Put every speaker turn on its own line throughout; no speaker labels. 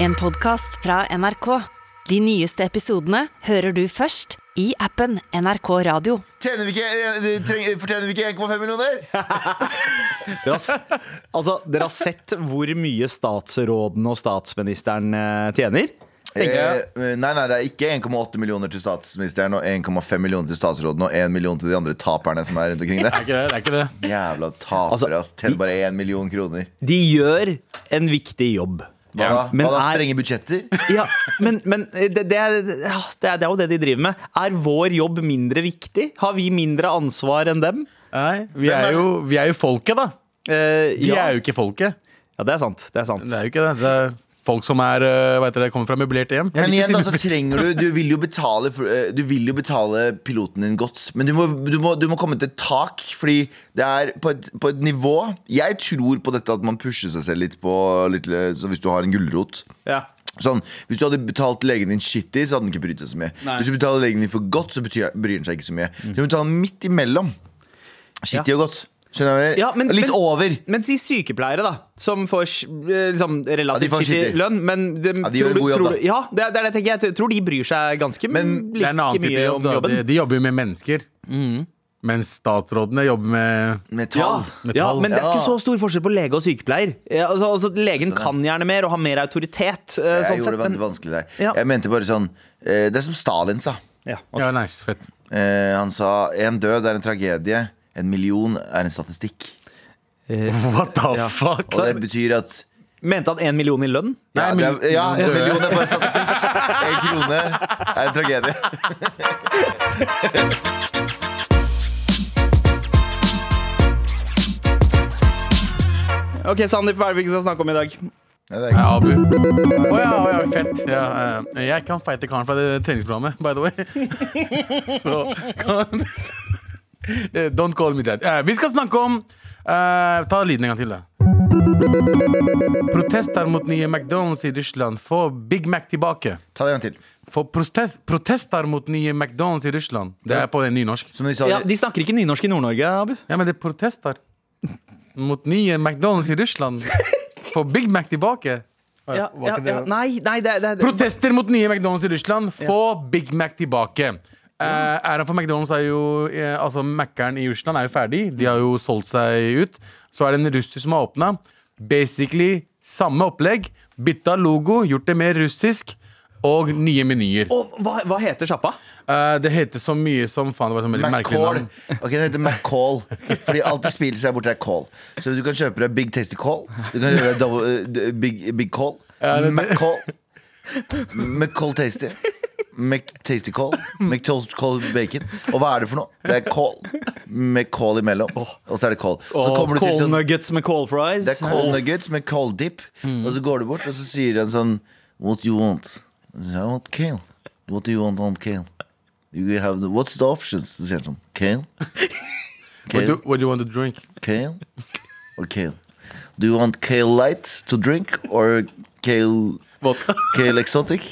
En podcast fra NRK. De nyeste episodene hører du først i appen NRK Radio.
Tjener vi ikke, eh, treng, fortjener vi ikke 1,5 millioner?
Dere har, s- altså, dere har sett hvor mye statsråden og statsministeren eh, tjener?
Eh, nei, nei, det er ikke 1,8 millioner til statsministeren og 1,5 millioner til statsråden og 1 million til de andre taperne som er rundt omkring der.
Det Eh, er ikke det.
Jævla tapere,
Altså,
ass. Tjener bare 1 million kroner.
De gjør en viktig jobb.
Hva da?
Men
Hva da?
er-
Strenge budsjetter?
Ja, men, men eh, det, det, er, ja, det, er, det er jo det de driver med. Er vår jobb mindre viktig? Har vi mindre ansvar enn dem?
Nei, vi
Hvem er
er, jo, vi er jo folket, da.
Eh,
De
ja.
er jo ikke folket.
ja, det er sant. Det er sant.
Det er jo ikke det. det er folk som er, øh, hva heter det, kommer fra møblerte hjem.
Men
Jeg
igjen,
vil
da,
ikke
så
si
trenger du Du vil jo betale, for, eh, du vil jo betale piloten din godt, men du må, du må, du må komme til et tak, fordi det er på et, på et nivå Jeg tror på dette at man pusher seg selv litt på litt, Så hvis du har en gulrot
Ja.
Sånn, Hvis du hadde betalt legen din shitty, så hadde den ikke brydd seg så mye. Hvis du betaler legen din for godt, så betyr, bryr den seg ikke så mye.
Mhm.
Så du betaler midt imellom. Shitty og godt. Skjønner du? hva jeg mener?
Ja, men-
Litt
men-
over.
Men si sykepleiere, da. Som får eh, liksom,
Ja, de
relativt
får
skittig
skittig.
lønn. Men de,
Ja, de gjør en
tror,
god jobb,
tror,
da.
Ja, det, er- det er det jeg tenker. Jeg tror de bryr seg ganske
Men
like
det er en annen type
mye om
jobb. Da.
jobben. Mm.
De, de jobber jo med mennesker. Mens statsrådene jobber
Med
med
Ja,
tall.
ja,
Metall.
men det er
Ja.
ikke så stor forskjell på lege og sykepleier. Ja, altså, altså, legen kan gjerne mer og har mer autoritet. eh,
Jeg
sånn
gjorde
sett,
det
men,
veldig vanskelig der.
Ja.
Jeg mente bare sånn eh, Det er som Stalin sa.
ja, ok.
Ja, nice, fett.
Eh, han sa en død er en tragedie, en million er en statistikk.
What the fuck?
Og det betyr at
Eh, Mente han én million i lønn?
Ja,
Nei,
det er, ja en
døde.
million er bare statistikk. En krone er en tragedie.
Ok, Sandeep, hva er det vi ikke skal snakke om i dag?
Nei, det er
Nei,
ikke.
Abu. Å ja, å ja, fett. Ja, eh, jeg kan fighte karen fra det treningsprogrammet, by the way. Så kan Eh, Don't call me that. Eh, vi skal snakke om eh, Ta lyden en gang til, da. Protester mot nye McDonald's i Russland. Få Big Mac tilbake.
Ta det en gang til.
For protest, protester mot nye McDonald's i Russland. Det er på nynorsk.
Som de sa
Ja, de snakker ikke nynorsk i Nord-Norge, Abu.
Ja, men det er protester mot nye McDonald's i Russland. Få Big Mac tilbake.
Ja,
Var ikke det-
ja, ja, nei, nei, det, det, det.
Protester mot nye McDonald's i Russland. Få Big Mac tilbake. Eh, æren for McDonald's er jo eh, Altså Mac-eren i Russland er jo ferdig. De har jo solgt seg ut. Så er det en russer som har åpna. Basically samme opplegg. Bytta logo, gjort det mer russisk. Og nye menyer.
Og hva, hva heter sjappa?
Eh, det heter så mye som faen. Det var et sånt veldig merkelig
McCall.
navn.
Ok, Den heter McCall. Fordi alt det spilles her borte er call. Så du kan kjøpe deg Big Tasty Call. Du kan kjøpe deg double, eh, d- big, big Call. McCall. McCall Tasty. McTasty Call. McToast Call Bacon. Og hva er det for noe? Det er call. Med call imellom. Og så er det call. Så
Og
kommer du til
Call
sånn
nuggets med call fries.
det er cold nuggets med cold dip. Og så går du bort, og så sier han sånn What do you want? Og så sier jeg, I want kale. What do you want on kale? You have the, what's the options? Så sier han sånn Kale.
What do,
Kale,
what do you want to drink?
kale or kale. Do you want kale light to drink or kale
Vodka.
Kale exotic?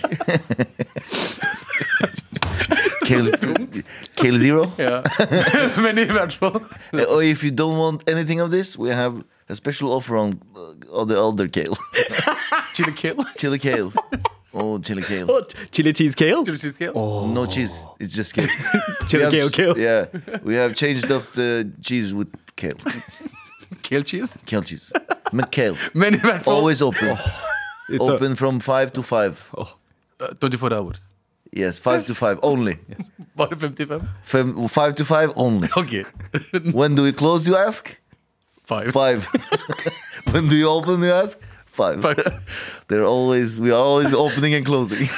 kale, kale zero?
Ja. Men i hvert fall.
Or if you don't want anything of this, we have a special offer on, on the other kale.
Chili kill.
Chili kale. Oh, chili kale.
Og Chili cheese kale?
Chili cheese kill.
No cheese. It's just kale.
Oh. Chili
We have-
kale kale.
Yeah, we have changed up the cheese with kale.
Kill cheese.
Kale cheese. McKale.
Men i hvert fall
Always open.
Oh. a- Oh.
open from five to five.
24 Eh, hours.
Yes, five to five only.
Bare 55.
Fem, five to five only.
Ok.
When do we close? You ask.
Five.
Five. when do you open? You ask. Five.
Five.
They're always we are always opening and closing.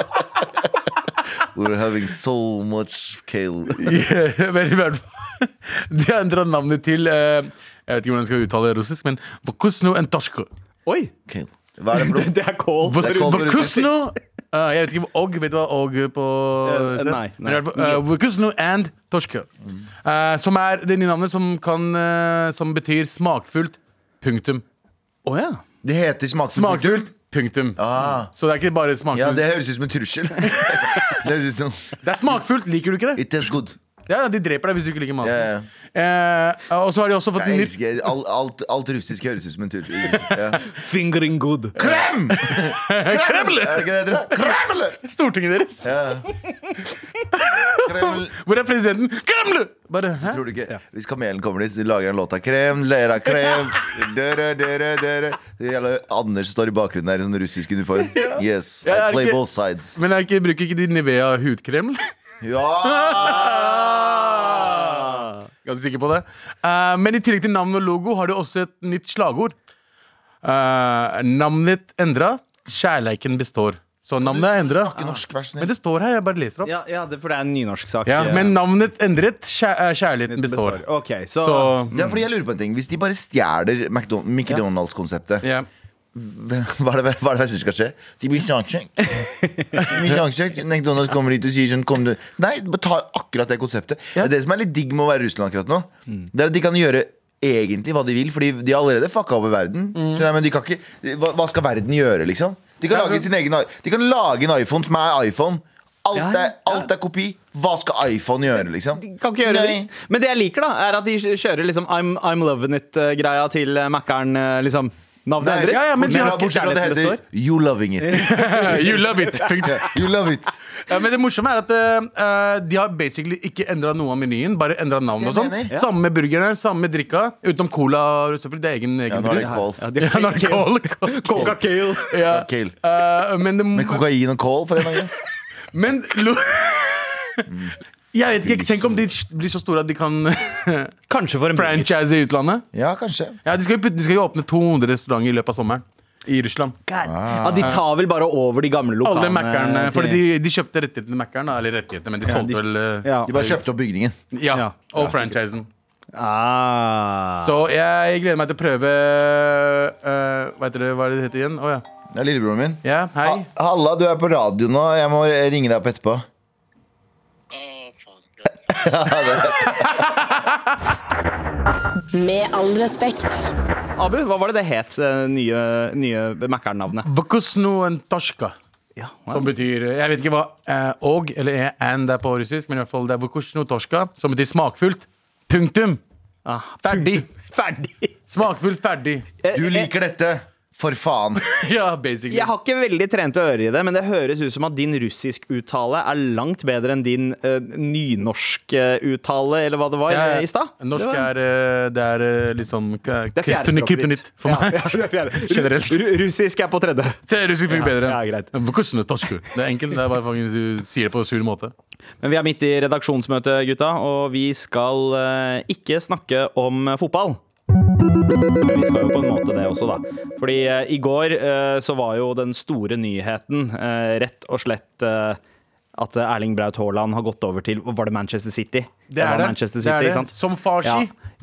We're having so much kale.
Yeah, men i hvert fall De endra navnet til eh, Jeg vet ikke hvordan jeg skal uttale det russisk, men Vokusno entoshko.
Oi!
kale. Hva er det for noe?
Det er call.
Vos-
Det er kaldt på
Vokusno Eh, Jeg vet ikke hvor og Vet du hva og på
Eh, eh, nei,
Men i
nei.
hvert fall, eh, Vokusno and toshko. Eh, som er det nye navnet som kan eh, Som betyr smakfullt punktum.
Å ja.
Det heter smaksfullt.
Smakfullt punktum.
Ah.
Så det er ikke bare
Ja,
smakfullt.
det høres ut som en trussel. det høres ut som
det er smakfullt, liker du ikke det?
It tastes good.
Ja, ja, De dreper deg hvis du ikke liker maten.
Ja,
Eh, og så har de også fått
Jeg
nytt
elsker alt, alt, alt russisk høres ut som en tur. Ja.
Fingering good.
Krem! Kreml! Er det ikke det det heter? Kreml!
Stortinget deres,
Ja. Kreml.
hvor er presidenten? Kreml! Bare, hæ?
Tror du ikke? Hvis kamelen kommer dit, så lager han låta 'Krem, lera, krem'. Dere, dere, dere. Det gjelder Anders står i bakgrunnen her i sånn russisk uniform. Yes, I
Ja, er det
play
ikke-
both sides.
Men jeg ikke, bruker ikke de Nivea hudkrem?
Ja!
Ah, Ganske sikker på det. Eh, men i tillegg til navn og logo har de også et nytt slagord. Eh, navnet endra, kjærleiken består. Så navnet er endra.
Snakke norsk, vær så
Men
snill.
det står her, jeg bare leser opp.
Ja, ja det, for det er en nynorsk sak.
Ja,
eh,
men navnet endret, kjæ eh, kjærligheten består.
Ok, så,
Så
Ja, fordi jeg lurer på en ting Hvis de bare stjeler McDon- McDonald's-konseptet,
ja.
hva er det hva er det jeg synes skal skje? De blir saksøkt. De blir saksøkt. McDonald's kommer hit og sier sånn kom du. Nei, de tar akkurat det konseptet. Det er det som er litt digg med å være i Russland akkurat nå. Det er at de kan gjøre egentlig hva de vil, fordi de har allerede fucka over verden.
Mm.
Skjønner jeg, men de kan ikke hva, hva skal verden gjøre, liksom? De kan,
Ja,
lage
men-
sin egen, i- de kan lage en iPhone som er iPhone. Alt,
Ja, ja,
er, alt er kopi. Hva skal iPhone gjøre, liksom?
De kan ikke gjøre
Nei.
det. Men det jeg liker, da, er at de kjører liksom I'm, I'm loving it-greia til eh, Mækkern. eh, Liksom, navnet
Nei,
endres.
ja, ja, men de
bortsett fra-
har
ikke
bortsett fra at det
kjærligheten
heter You loving it.
You love it. Punkt.
You love it.
Ja, men det morsomme er at eh, de har basically ikke endra noe av menyen. Bare endra navn og sånn.
Det mener jeg.
Samme med burgerne, samme med drikka. Utenom cola, selvfølgelig. Det er egen,
Ja,
egen
nå er det
brus.
kål.
Ja, de
Ja,
har
nå er det kål. Kål.
Coca-Cola.
Ja.
Kale.
Eh, men det,
Med kokain og kål, for en gang.
men lo jeg vet ikke, Tenk om de blir så store at de kan
Kanskje for en burger.
franchise i utlandet.
Ja, kanskje.
Ja, De skal jo putte- de skal jo åpne 200 restauranter i løpet av sommeren i Russland.
Ja, de tar vel bare over de gamle lokalene.
Alle Mac-erne,
til-
fordi de, de kjøpte rettighetene til Mac-eren. da, Eller rettighetene, men de solgte
de-
vel eh,
eh, ja.
De bare kjøpte opp bygningen.
ja,
Ja.
Og franchisen.
Ah.
Så jeg gleder meg til å prøve eh, Vet dere hva det heter igjen? Å ja.
Det er lillebroren min.
ja. Hei.
Ha- Halla, du er på radio nå. Jeg må ringe deg opp etterpå.
Med all respekt.
Abu, hva var det det het, det nye, nye Mækkern-navnet?
Vukosnoen toshka.
Ja,
Som betyr eh, Jeg vet ikke hva eh, og eller er and er på russisk, men i hvert fall det er vukosno toshka, som betyr smakfullt. Punktum.
ah,
Ferdig.
ferdig!
Smakfullt ferdig.
Du liker dette! For faen.
Ja, basically.
Jeg har ikke veldig trente ører i det, men det høres ut som at din russisk-uttale er langt bedre enn din eh, nynorsk-uttale, eller hva det var, eh,
Jeg-
i stad.
Norsk
Det var-
er, eh, det er eh, litt sånn k-
Det er
kryptoni-
fjerdespråket
kryptonitt for meg.
Ja, ja, det er fjerde.
Generelt.
Ru- Russisk er på tredje.
Det er russisk
Ja,
funker bedre.
ja, greit.
Vukosno toshku. Det er enkelt. Det er bare faktisk du sier det på en sur måte.
Men vi er midt i redaksjonsmøte, gutta, og vi skal eh, ikke snakke om eh, fotball. Men Vi skal jo på en måte det også, da. Fordi eh, i går eh, så var jo den store nyheten eh, rett og slett eh, at Erling Braut Haaland har gått over til Var det Manchester City?
Det er
var
det.
Manchester
det,
City,
er det.
ikke sant?
Som far si.
Ja.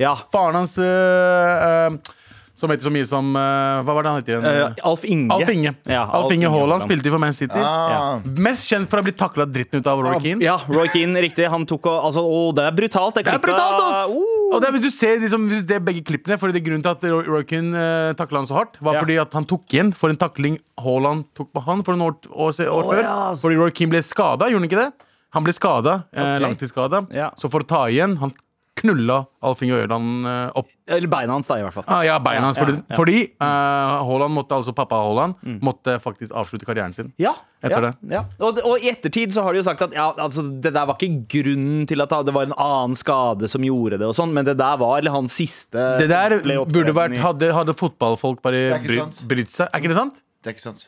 ja.
Faren hans øh, øh, Som heter så mye som øh, Hva var det han het igjen?
Eh, Alf Inge.
Alf Inge.
Ja,
Alf Inge Haaland spilte for Man City.
Ah.
Mest kjent for å ha blitt takla dritten ut av Roy Keane.
Ah, Ja, Roy Keane, riktig. Han tok og Altså, å, det er brutalt. Det,
Det er
klippet.
brutalt, ass!
Oh.
Og det er hvis du ser liksom, hvis det er begge klippene Fordi det er Grunnen til at Roy- Roy Keane uh, takla han så hardt, var
Ja.
fordi at han tok igjen for en takling Haaland tok på han for noen år, år, se- år
Å,
før.
ja, ass.
Fordi Roy Keane ble skada, gjorde han ikke det? Han ble skada, eh,
Ok.
langtidsskada.
Ja.
Så for å ta igjen, han knulla Alf Inge Øyland eh, opp
Eller beina hans, da, i hvert fall.
Ah, ja, beina hans.
Ja,
Fordi,
ja, ja. Mm.
fordi eh, Haaland måtte, altså pappa Haaland måtte faktisk avslutte karrieren sin.
Ja, ja,
Etter det.
Ja. Og, og i ettertid så har de jo sagt at ja, altså, det der var ikke grunnen til at det var en annen skade som gjorde det, og sånn, men det der var hans siste
Det der
ordentlige opptreden
burde vært
i-
Hadde, hadde fotballfolk bare
er ikke
brydd
sant.
brydd seg. Er ikke det sant?
Det er ikke sant.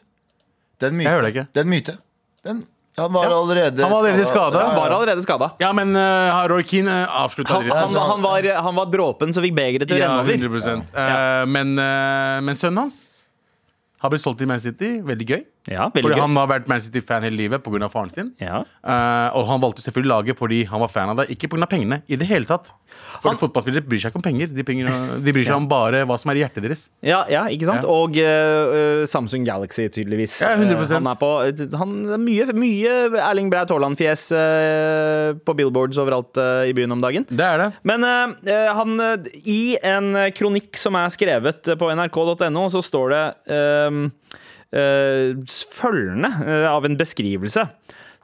Det er en myte.
Jeg hører det ikke.
Det er en myte. Den, han var allerede
Han var allerede skadet.
Han var allerede skada.
Ja, men uh, Roy Keane uh, avslutta
Han, han, han, var, han var dråpen som fikk begeret til å
Ja,
renne over.
100 Eh, men, eh, men sønnen hans har blitt solgt til Man City. Veldig gøy.
Ja,
Fordi
veldig gøy.
han har vært Man City-fan hele livet pga. faren sin.
Ja.
Eh, og han valgte selvfølgelig laget fordi han var fan av det, ikke pga. pengene. i det hele tatt For fotballspillere bryr seg ikke om penger. De, penger- de bryr seg om bare hva som er i hjertet deres.
Ja, ja, ikke sant?
Ja.
Og eh, eh, Samsung Galaxy, tydeligvis.
Ja, 100%.
Eh, han er på eh, han, det er mye, mye Erling Braut Haaland-fjes eh, på billboards overalt eh, i byen om dagen.
Det er det.
Men eh, eh, han, eh, i en eh, kronikk som er skrevet eh, på nrk.no, så ehm, står det eh, eh, s- følgende eh, av en beskrivelse.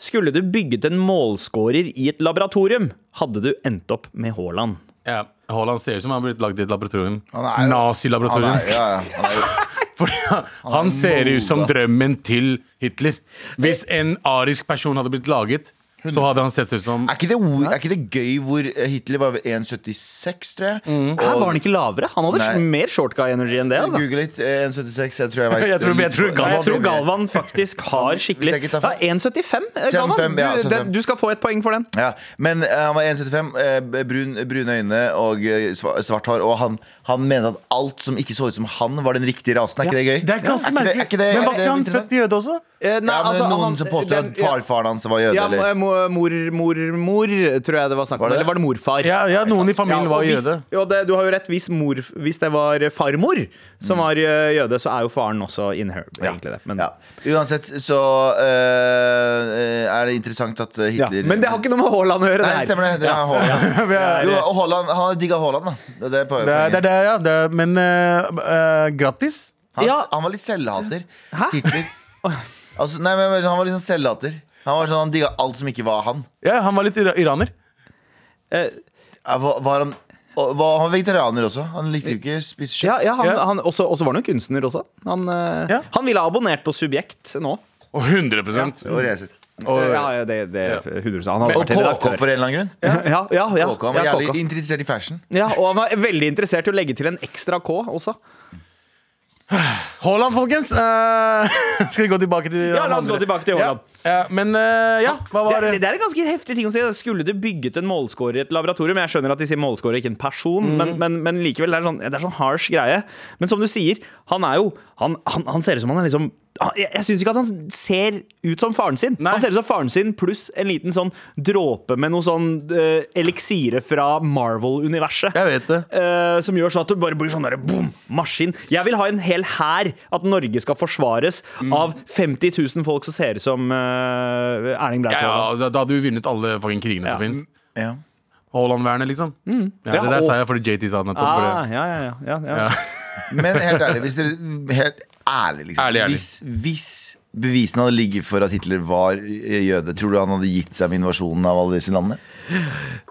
Skulle du bygget en målscorer i et laboratorium, hadde du endt opp med Haaland.
Ja. Haaland ser ut som han har blitt lagd i et laboratorium.
Han er jo- Han er,
Nazi-laboratorium.
ja, ja, han er, jo-
Fordi han, han ser ut som
molda.
drømmen til Hitler. Hvis en arisk person hadde blitt laget, så hadde han sett ut som
er, ikke det, ord- er ikke det gøy hvor eh, Hitler var 1,76, tror jeg?
Mm.
Her var han ikke lavere. Han hadde
Nei.
mer short guy energy enn det. altså.
Google litt. eh, 1,76. Jeg tror jeg vet
Jeg tror- jeg tror
Nei,
Galvan-
jeg tror Galvan faktisk har skikkelig
jeg ikke
Ja,
tar feil.
1,75. eh, Galvan,
75, ja, altså
du, den,
75.
du skal få et poeng for den.
Ja, men eh, han var 1,75, eh, brun, brune øyne og eh, sva- svart hår. Og han, han mente at alt som ikke så ut som han, var den riktige rasen. Er ikke det gøy?
Det er ganske
Ja,
merkelig.
Er ikke det, er
Men
ikke
var
det, er
ikke
ikke
han
det
født
interessant?
jøde også?
Ja,
Eh, nei,
men
altså,
noen
han-
som påstår
den-
at farfaren hans var jøde,
Ja, eh,
eller?
mo- mor, mor, mor, tror jeg det var snakk om.
Var det det?
Eller var det morfar?
Ja, ja, noen i familien
Ja, og
var
hvis,
jøde.
Ja, det, du har jo rett. Hvis, mor, hvis det var farmor som var eh, jøde, så er jo faren også in her. Egentlig det. Men,
Mm. Ja.
ja.
Uansett så eh, er det interessant at eh, Hitler
men det har ikke noe med Haaland å gjøre.
Nei,
her.
det stemmer det. Det er Haaland.
Vi er-
Jo, og Haaland, han har digga Haaland, da. Det er det poenget.
Det er det, er- ja. Det er, men eh, eh, grattis.
Han,
Ja.
han var litt selvhater.
Hæ?
Hitler. Altså, nei, men, men Han var litt sånn selvhater. Han var sånn, han digga alt som ikke var han.
Ja, han var litt ira- iraner.
Eh,
Ja, Var, var han og var han vegetarianer også? Han likte jo ikke å spise kjøtt.
ja, ja, han,
Ja.
han også, også var han jo kunstner også. Han, eh,
Ja.
han ville ha abonnert på Subjekt nå.
Og 100
Og reiser.
Og, ja, ja, det, det,
Ja.
100%. Han hadde
Og
vært
KK
redaktør.
for en eller annen grunn.
Ja, ja, ja, ja,
KK, han var
ja,
jævlig
KK.
interessert i fashion.
ja, og han var veldig interessert i å legge til en ekstra K også.
Haaland, folkens! Eh, skal vi gå tilbake til
Ja,
han
la oss
andre?
gå tilbake til Haaland.
Ja, ja, men eh, ja, hva
Det,
var
det, det er en ganske heftig ting å si. Altså, Skulle du bygget en målscorer i et laboratorium? Jeg skjønner at de sier målscorer, ikke en person, men,
Mm.
men, men likevel. Det er, sånn, det er sånn harsh greie. Men som du sier, han er jo Han, han, han ser ut som han er liksom han- Jeg, jeg syns ikke at han ser ut som faren sin.
Nei.
Han ser ut som faren sin pluss en liten sånn dråpe med noe sånn eh, eliksire fra Marvel-universet.
Jeg vet det.
Eh, som gjør sånn at du bare blir sånn der, boom, maskin. Jeg vil ha en hel hær at Norge skal forsvares av
Mm.
50 000 folk som ser ut som eh, Erling Braut
ja, ja,
Haaland.
da, da hadde vi vunnet alle fucking krigene som fins.
Ja.
Haaland-vernet, liksom. Ja,
Mm. Ja,
det der
og-
sa jeg fordi JT sa det nettopp. for
Ah,
det.
ja, ja, ja, ja, ja.
Ja.
Men helt ærlig, hvis dere Helt ærlig, liksom.
Ærlig, ærlig.
Hvis, hvis bevisene hadde ligget for at Hitler var jøde, tror du han hadde gitt seg med invasjonen av alle disse landene?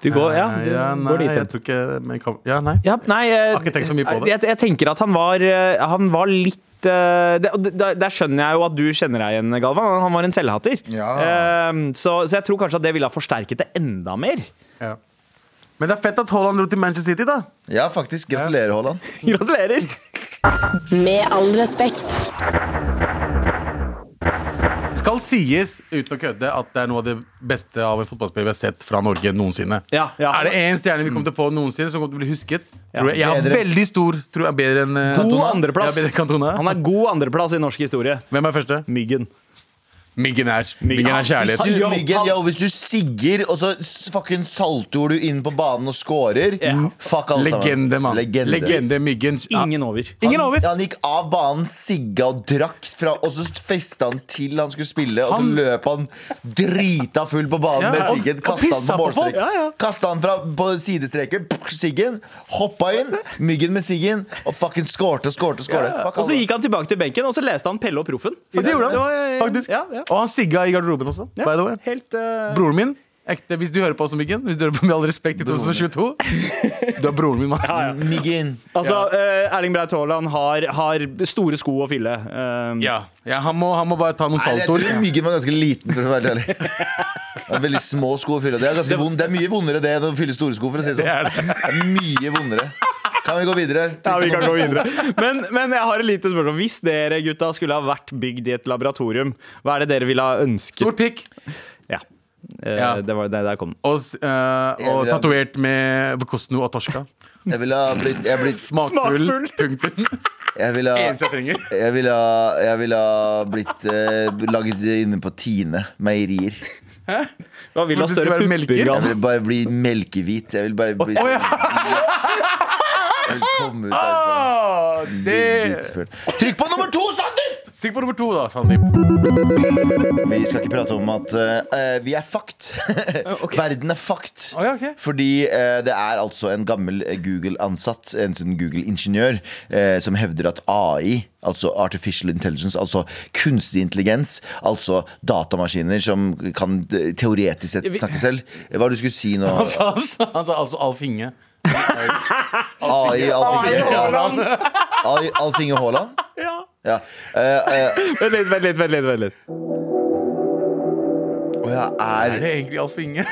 Du går, ja, du
Ja, nei,
går dit
jeg
hen.
tror ikke men kan, Ja, nei.
Ja, nei, eh,
Har ikke tenkt så mye på det.
Jeg, jeg tenker at han var, eh, han var litt eh, det, og det- der, der skjønner jeg jo at du kjenner deg igjen, Galvan. Han var en selvhater.
Ja.
Eh, så, så jeg tror kanskje at det ville ha forsterket det enda mer.
Ja. Men det er fett at Haaland dro til Manchester City, da.
Ja, faktisk. Gratulerer, Haaland.
Gratulerer!
Med all respekt.
Skal sies, uten å kødde, at det er noe av det beste av en fotballspiller vi har sett fra Norge noensinne.
Ja, ja.
Er det én stjerne vi kommer til å få noensinne, som kommer til å bli husket? Tror jeg. jeg har
Bedre.
veldig stor tror jeg, Bedre enn eh,
God
Cantona.
andreplass.
Ja, bedre enn Cantona.
Han er god andreplass i norsk historie.
Hvem er første?
Myggen.
Myggen er, Myggen er
Hvis
kjærlighet.
du,
Yo,
Myggen,
han-
yo, hvis du sigger, og så s- fucking saltoer du inn på banen og scorer Mm.
Ja.
Fuck alle
Legende, mann.
sammen.
Legende. Myggen. Ja.
Ingen over.
Ingen
Han-
over.
Han gikk av banen, sigga og drakk fra, og så festa han til han skulle spille, og så
Han-
løp han drita full på banen
Ja,
med
og-
siggen.
og
Kasta han
pissa
på
på
målstreken.
folk.
Ja, ja.
Kasta han fra, på sidestreken, pff, siggen, hoppa inn, myggen med siggen, og fucking skårte og skårte og skårte. Fuck
Og så
alle.
gikk han tilbake til benken, og så leste han Pelle og Proffen.
Ja, det eh, gjorde han,
var- eh,
faktisk.
Ja, ja.
Og han sigga i garderoben også,
Ja,
by the way.
Helt eh,
Broren min, ekte, hvis du hører på oss, Myggen, hvis du hører på med all respekt i 2022 Du er broren min, mann.
Myggen.
Altså, eh, Erling Braut Haaland har, har store sko å fylle. eh,
Ja. ja han, må, han må bare ta noen
Nei, jeg tror
saltoer.
Myggen var ganske liten, for å være helt ærlig. Det er veldig små sko å fylle. Det er, ganske vond. det er mye vondere det enn å fylle store sko, for å si det sånn.
er
Det er mye vondere. Kan vi gå videre?
Ja, vi kan gå videre. Men, men jeg har et lite spørsmål. Hvis dere gutta skulle ha vært bygd i et laboratorium, hva er det dere ville ha ønsket?
Stor pikk.
Ja. Eh,
Ja.
Det var det der kom den.
Og, s- eh, og tatovert med Vokosno og Torska.
Jeg ville ha blitt, jeg blitt,
Smakfull.
Smakfull.
Punktum.
jeg ville ha,
Eneste jeg trenger.
jeg ville ha, jeg ville ha blitt eh, laget inne på Tine meierier.
Hva vil du ha
For du
større
skulle være
pupper?
melker?
Jeg
Galvan?
vil bare bli melkehvit. Jeg vil bare bli sånn Jeg vil komme ut derfra.
Ah, det
Hvitsfull. Trykk på nummer to, Sander!
Stikk på nummer to, da, Sandeep.
Vi skal ikke prate om at eh, vi er fucked. Verden er fucked.
Å, ja, ok.
Fordi eh, det er altså en gammel eh, Google-ansatt, en sånn Google-ingeniør, eh, som hevder at AI, altså artificial intelligence, altså kunstig intelligens, altså datamaskiner som kan eh, teoretisk sett snakke selv Hva var det du skulle si nå?
Han sa, han sa, han sa altså Alf Inge.
AI, Alfinge Haaland? AI, Alfinge Haaland?
Ja.
Ja. Eh, eh,
Vent litt, vent litt. vent litt, vent litt.
og jeg
Er
er
det egentlig Alf Inge?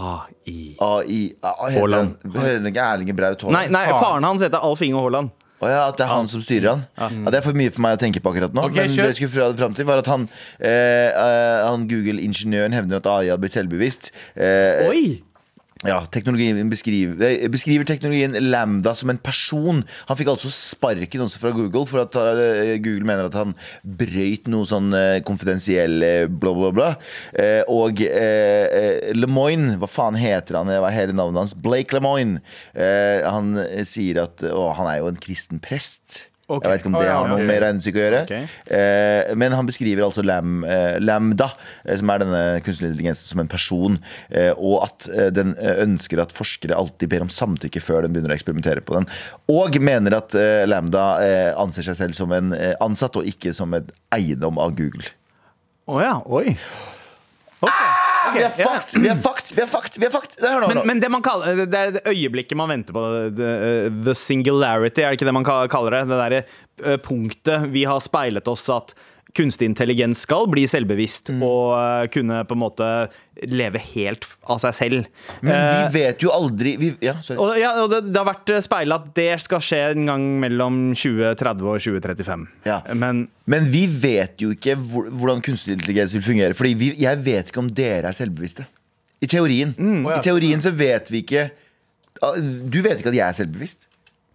AI.
AI ah, heter
Haaland.
han- Hører den ikke Erling Braut
Nei,
Haaland?
nei, faren hans heter Alf Inge Haaland.
Å ja, at det er han som styrer han. Ja, det er for mye for meg å tenke på akkurat nå.
Ok,
men
kjør.
det jeg skulle fra- fram til, var at han, eh, eh, han Google-ingeniøren hevder at AI hadde blitt selvbevisst. Eh,
Oi!
ja, teknologien beskriver, eh, beskriver teknologien Lambda som en person. Han fikk altså sparken også fra Google for at eh, Google mener at han brøyt noe sånn eh, konfidensiell eh, bla, bla, bla. Eh, og eh, eh, Lemoyne, hva faen heter han? Hva er hele navnet hans? Blake Lemoyne. Eh, han eh, sier at Å, han er jo en kristen prest.
Ok.
Jeg vet ikke om
Å,
det
ja,
har noe
ok.
med regnestykke å gjøre.
Ok.
Eh, men han beskriver altså Lam, eh, Lambda, eh, som er denne kunstig intelligensen, som en person. Eh, og at eh, den eh, ønsker at forskere alltid ber om samtykke før den begynner å eksperimentere på den. Og mener at eh, Lambda eh, anser seg selv som en eh, ansatt, og ikke som en eiendom av Google.
Å ja. Oi. Ah,
vi er fucked! Vi er fucked! Vi er fucked! Vi er fucked. Nei, Hør nå,
Men,
hør nå.
men det, man kaller, det er det øyeblikket man venter på det, det, The singularity, er det ikke det man ka- kaller det? Det derre eh, punktet vi har speilet oss at kunstig intelligens skal bli selvbevisst og eh, kunne på en måte leve helt av seg selv.
Mm.
Eh,
Men vi vet jo aldri vi, Ja, sorry.
og, ja, og det, det har vært speila at det skal skje en gang mellom 2030 og 2035.
Ja.
Men
Men vi vet jo ikke hvor- hvordan kunstig intelligens vil fungere. Fordi vi, jeg vet ikke om dere er selvbevisste. I teorien.
Mm.
I teorien så vet vi ikke ah, Du vet ikke at jeg er selvbevisst.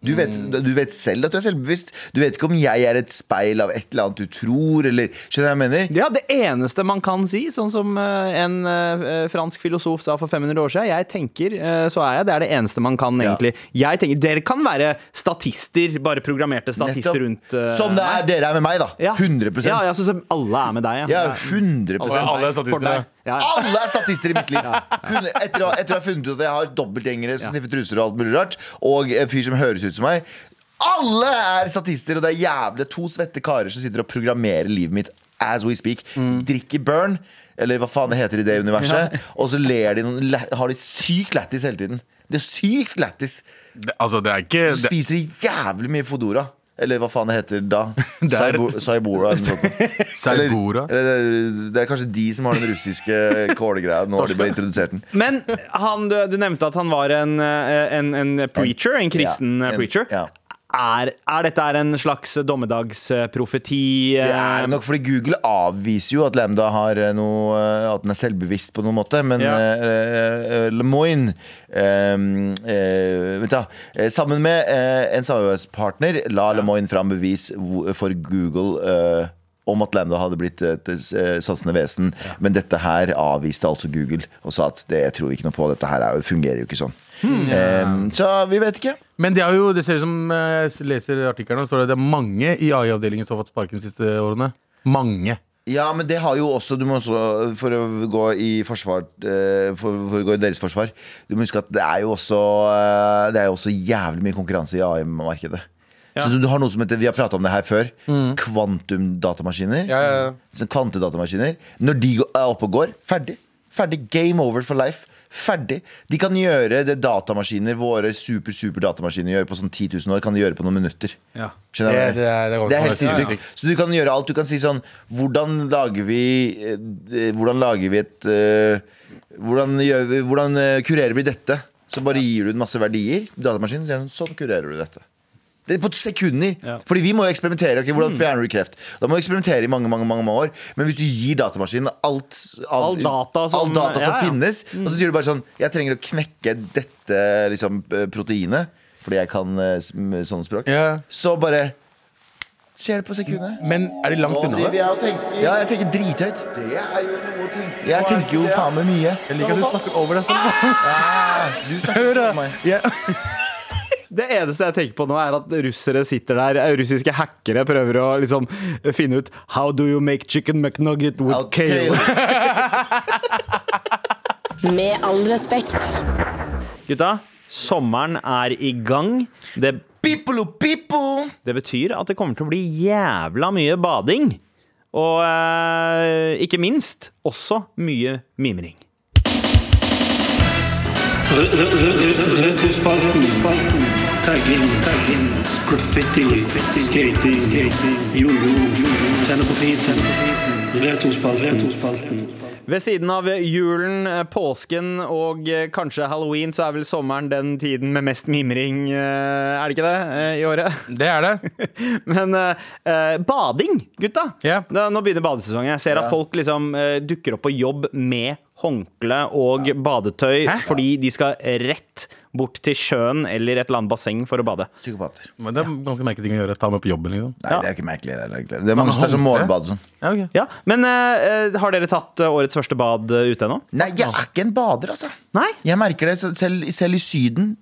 Du vet,
Mm.
du vet selv at du er selvbevisst. Du vet ikke om jeg er et speil av et eller annet du tror, eller Skjønner du hva jeg mener?
ja, det eneste man kan si, sånn som eh, en eh, fransk filosof sa for 500 år siden, jeg tenker, eh, så er jeg. Det er det eneste man kan,
Ja.
egentlig. Jeg tenker, Dere kan være statister, bare programmerte statister rundt eh,
Som det er dere er med meg, da.
ja.
100
Ja, Altså, jeg synes alle er med deg, ja.
Ja, 100
Alle er
For deg.
statister.
Ja, ja.
Alle er statister i mitt liv. Hun, etter, å, etter å ha funnet ut at jeg har dobbeltgjengere som sniffer truser og alt mulig rart, og en fyr som høres ut som meg. Alle er statister, og det er jævlig to svette karer som sitter og programmerer livet mitt as we speak.
Mm.
Drikker burn, eller hva faen det heter i det universet, og så ler de noen, la- har de sykt lættis hele tiden. Det er sykt lættis.
Det, altså, det er ikke
Så
det,
spiser de jævlig mye Fodora. Eller hva faen det heter da?
Det er-
Saibora. Saibora eller noe sånt. Eller,
Saibora.
eller det, er, det er kanskje de som har den russiske kålgreia. Nå har de bare introdusert den.
Men han, du, du nevnte at han var en, eh, en, en preacher, en kristen
Ja,
eh,
en-
preacher.
ja.
Er, er dette er en slags dommedagsprofeti? eh,
Det er det nok fordi Google avviser jo at Lambda har eh, noe eh, At den er selvbevisst på noen måte. Men
Ja.
eh, eh, Lemoyne eh, eh, Vent, da. Eh, Sammen med eh, en samarbeidspartner la Lemoyne fram bevis hvor- for Google eh, om at Lambda hadde blitt et eh, sansende vesen. Men dette her avviste altså Google og sa at det tror vi ikke noe på. Dette her er, jo- fungerer jo ikke sånn. Eh, så vi vet ikke.
Men det, er jo, det ser ut som eh, leser artikkelen, og står det, det er mange i AI-avdelingen som har fått sparken de siste årene. Mange.
Ja, men det har jo også Du må også, for å gå i forsvar eh, For, for å gå i deres forsvar Du må huske at det er jo også eh, Det er jo også jævlig mye konkurranse i AI-markedet Sånn som du har noe som heter Vi har pratet om det her før Kvantumdatamaskiner
Ja, ja, ja.
Sånn Kvantedatamaskiner Når de gå- er oppe og går, ferdig Ferdig, game over for life Ferdig De kan gjøre det datamaskiner Våre super, super datamaskiner gjør på sånn 10 000 år Kan de gjøre på noen minutter
Ja.
Skjønner du?
Det- det er- det går
det er helt
ikke å være
sinnssykt. Så du kan gjøre alt. Du kan si sånn Hvordan lager vi eh, eh, Hvordan lager vi et eh, Hvordan, gjør vi, hvordan eh, kurerer vi dette? Så bare gir du den masse verdier. Datamaskinen sier sånn Sånn kurerer du dette. Det er på sekunder.
Ja. Mm.
Fordi vi må jo eksperimentere. ok, hvordan fjerner du kreft? Da må vi eksperimentere i mange mange, mange mange år. Men hvis du gir datamaskinen alt av-
All data som-
all data som
ja, ja.
finnes, og så sier du bare sånn Jeg trenger å knekke dette liksom, eh, proteinet, fordi jeg kan eh, sm- sånn språk.
Ja.
Så bare skjer det på sekundet.
Men er de langt unna det?
Ja, jeg tenker drithøyt. Det er jo noe å tenke på. Jeg tenker jo faen meg mye. Ah,
Jeg liker at du snakker over deg selv.
Du snakker ikke om meg.
Ja.
Det eneste jeg tenker på nå, er at russere sitter der, eh, russiske hackere prøver å liksom finne ut How do you make chicken McNugget with kale?
Med all respekt.
Gutta, sommeren er i gang. Det,
Pipolo, pipo!
det betyr at det kommer til å bli jævla mye bading. Og eh, ikke minst også mye mimring.
Retrospalten. Tagging. Tagging. Graffiti. Skating. Skating. Jojo. Tenne på fisen. Retrospalten.
Ved siden av julen, eh, påsken og eh, kanskje halloween, så er vel sommeren den tiden med mest mimring, eh, er det ikke det, eh, i året?
Det er det.
Men eh, eh, bading, gutta.
Ja.
Da, nå begynner badesesongen. Jeg ser at folk liksom eh, dukker opp på jobb med håndkle og badetøy
Hæ?
fordi de skal rett bort til sjøen eller et eller annet basseng for å bade.
Psykopater.
Men det er ganske merkelig ting å gjøre. Ta med på jobben, liksom.
Nei, det er ikke merkelig. Det er, egentlig. det er mange som tar
håndkle?
som morgenbad og sånn.
Ja, ok.
Ja, Men eh, eh, har dere tatt eh, årets første bad eh, ute ennå?
Nei, jeg er ikke en bader, altså.
Nei?
Jeg merker det så- selv, selv i Syden.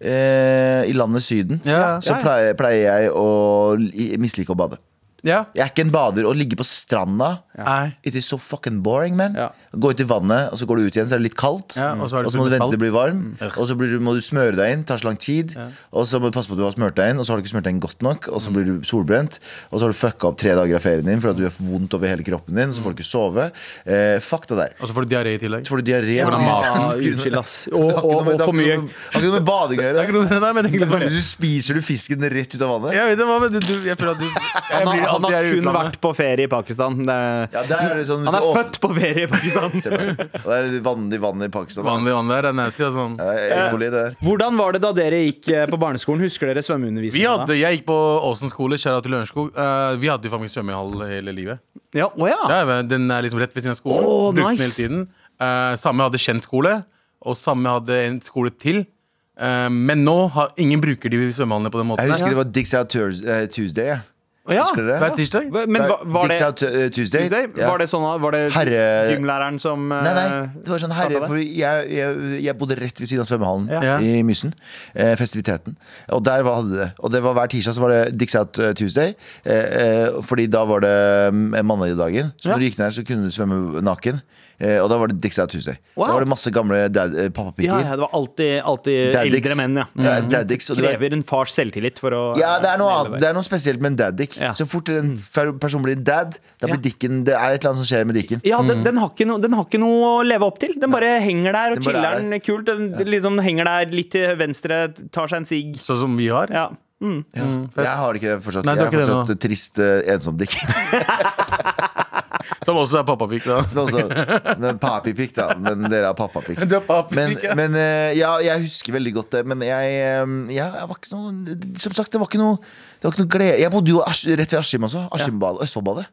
Eh, I landet Syden.
Ja.
Så
Ja, ja.
pleier, pleier jeg å li- mislike å bade.
Ja.
Jeg er ikke en bader. Å ligge på stranda
Nei.
It is so fucking boring, man.
Ja.
Gå ut i vannet, og så går du ut igjen, så er det litt kaldt.
Ja, og så er det
må du
plutselig
vente til det blir varm.
Mm.
Og så blir du, må du smøre deg inn, tar så lang tid. Og så må du passe på at du har smørt deg inn, og så har du ikke smørt deg inn godt nok. Og
Mm.
så blir du solbrent, og så har du fucka opp tre dager av ferien din fordi at du har vondt over hele kroppen din, så får du ikke sove. Eh, fuck det der.
Og så får du diaré i tillegg.
Så får du diaré.
Hvordan maten?
Ah, Unnskyld, ass. Og,
Det har ikke noe
og,
med-
og for mye.
Det har ikke noe med bading å
Det er
gjøre.
ikke noe- Nei, men det er egentlig sånn-
Du spiser du fisken rett ut av vannet.
Jeg vet det, hva, men du, du, jeg føler at du jeg
Han
blir
har, han har
alltid her i
kun
utlandet.
vært på ferie i Pakistan. Det er,
Ja, der er det sånn
han er
Å,
født på ferie i Pakistan.
se på det. Og Det er vanlig vann i Pakistan. ass.
Vanlig vann der er nasty. Altså. man.
Ja, det er ebola, det der.
Hvordan var det da dere gikk eh, på barneskolen? Husker dere
Vi
svømmeundervisningen?
hadde, jeg gikk på Åsen skole, kjære til Lørenskog. Eh, vi hadde jo faktisk svømmehall hele livet.
da? Ja, å ja.
Ja, men den er liksom rett ved siden av skolen.
Åh,
Brukte den
nice.
hele tiden. Eh, samme hadde kjent skole, og samme hadde en skole til. Eh, men nå har ingen bruker de svømmehallene på den måten.
Jeg husker
her.
det var Dicks Out Thurs- eh, Tuesday. jeg.
Å ja.
Husker dere det?
Hver tirsdag?
Men var, var
Dicks
det
Out eh, Tuesday.
Tuesday?
Ja.
Var det sånn at- var det
Herre-
gymlæreren som eh,
Nei, nei, det var sånn herre
startet det?
For jeg, jeg, jeg bodde rett ved siden av svømmehallen
Ja.
I Mysen, eh, festiviteten Og der var, hadde det Og det var hver tirsdag så var det Dicks Out eh, Tuesday eh, eh, Fordi da var det mm, mandagsdagen Så
Ja.
når du gikk ned så kunne du svømme naken eh, Og da var det Dicks Out Tuesday
Wow.
Da var det masse gamle dad, eh, pappapiker
Ja, ja, det var alltid, alltid
Daddicks.
eldre menn, ja. Mm.
Ja, daddicks, og du vet-
Krever en fars selvtillit for å
Ja, det er noe annet. Det
Det.
er noe spesielt med en daddick.
Ja. Mm.
Så fort en fer- person blir dad, da blir
Ja.
dikken Det er et eller annet som skjer med dikken.
Ja, den, den, har ikke noe- den har ikke noe å leve opp til. Den bare henger der og
Den bare er
chiller'n kult. Den liksom henger der litt til venstre, tar seg en sigg.
Sånn som vi har.
Ja. Mm.
Ja. jeg har ikke det fortsatt.
Nei, du
jeg er
har ikke det
fortsatt
nå.
en trist, eh, ensom dick.
Som også er pappapikk. da.
Men også- men Papipikk, da. Men dere har pappapikk.
Du er pappapikk,
Men,
ja.
men eh, ja, jeg husker veldig godt det. Men jeg, eh, ja, jeg var ikke noe Som sagt, det var ikke noe det var ikke noe glede. Jeg bodde jo Asch- rett ved Askim også. Askimbadet. Østfoldbadet.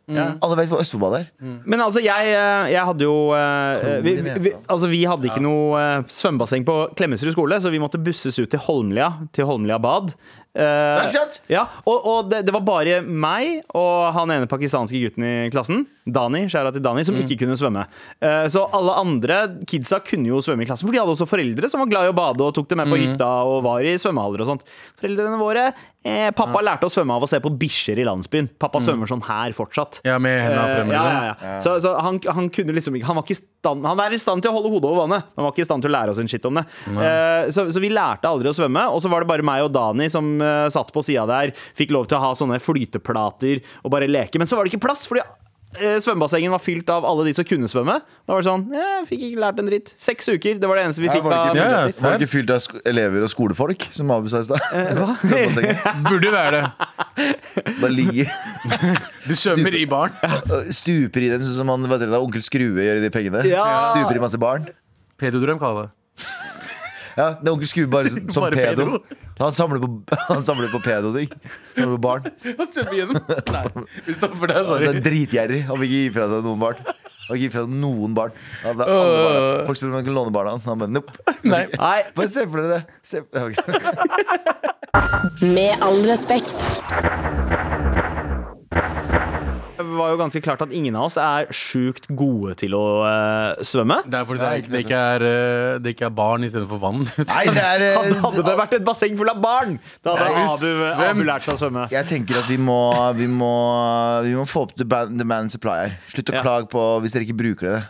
Alle vet hva Østfoldbadet er.
Men altså, jeg, eh, jeg hadde jo eh, vi, vi, vi- altså, vi hadde ikke noe eh, svømmebasseng på Klemetsrud skole, så vi måtte busses ut til Holmlia, til Holmlia bad. Eh,
ikke sant?
ja, og og det, det var bare meg og han ene pakistanske gutten i klassen, Dani, skjæra til Dani, som
Mm.
ikke kunne svømme. Eh, så alle andre kidsa kunne jo svømme i klassen, for de hadde også foreldre som var glad i å bade og tok det
Mm.
med på hytta og var i svømmehaller og sånt. Foreldrene våre eh, Pappa lærte å svømme av å se på bikkjer i landsbyen. Pappa svømmer sånn her fortsatt.
Mm. Ja, med hendene
Eh,
fremme.
ja,
liksom.
ja, ja. Så, så han, han kunne liksom ikke Han var ikke i stand Han er i stand til å holde hodet over vannet, men han var ikke i stand til å lære oss en shit om det. Eh, så, så vi lærte aldri å svømme, og så var det bare meg og Dani som eh, satt på sida der, fikk lov til å ha sånne flyteplater og bare leke, men så var det ikke plass, fordi eh, Svømmebassengen var fylt av alle de som kunne svømme. Da var det sånn eh, Fikk ikke lært en dritt. Seks uker, det var det eneste vi
Her
fikk.
Var det
av
ikke,
Ja, ja,
var det ikke fylt av sk elever og skolefolk, som Abu sa i stad? Svømmebassenget.
Burde være det.
Da ligger
Du svømmer i baren.
Stuper i dem sånn som han, hva heter det, da, onkel Skrue gjør i de pengene.
Ja.
Stuper i masse barn.
Pedodrøm kaller det.
Ja, det er onkel Skrue bare som, som
Bare
pedo.
pedo.
Han samler på, han samler på pedoting. Samler på barn.
Hva svømmer igjennom? Nei, vi stopper der,
Altså,
sorry.
er dritgjerrig. Han vil ikke gi fra seg noen barn. Han vil ikke gi fra seg noen barn. Han, hadde alle barna. Folk spør om han kan låne barna. Han bare nope.
Nei.
Nei,
Bare se for dere det. Se, ok.
Med all respekt.
Det var jo ganske klart at ingen av oss er sjukt gode til å eh, svømme.
Det er fordi det, er, det, ikke er, eh, det ikke er barn istedenfor vann.
Nei, det er eh,
Hadde hadde det vært et basseng fullt av barn, da hadde
Nei,
Abu, Abu
svømt.
lært seg å svømme.
Jeg tenker at vi må, vi må, vi må få opp the, ban- the man supply her. Slutt å
Ja. Mm.
klage på hvis dere ikke bruker det.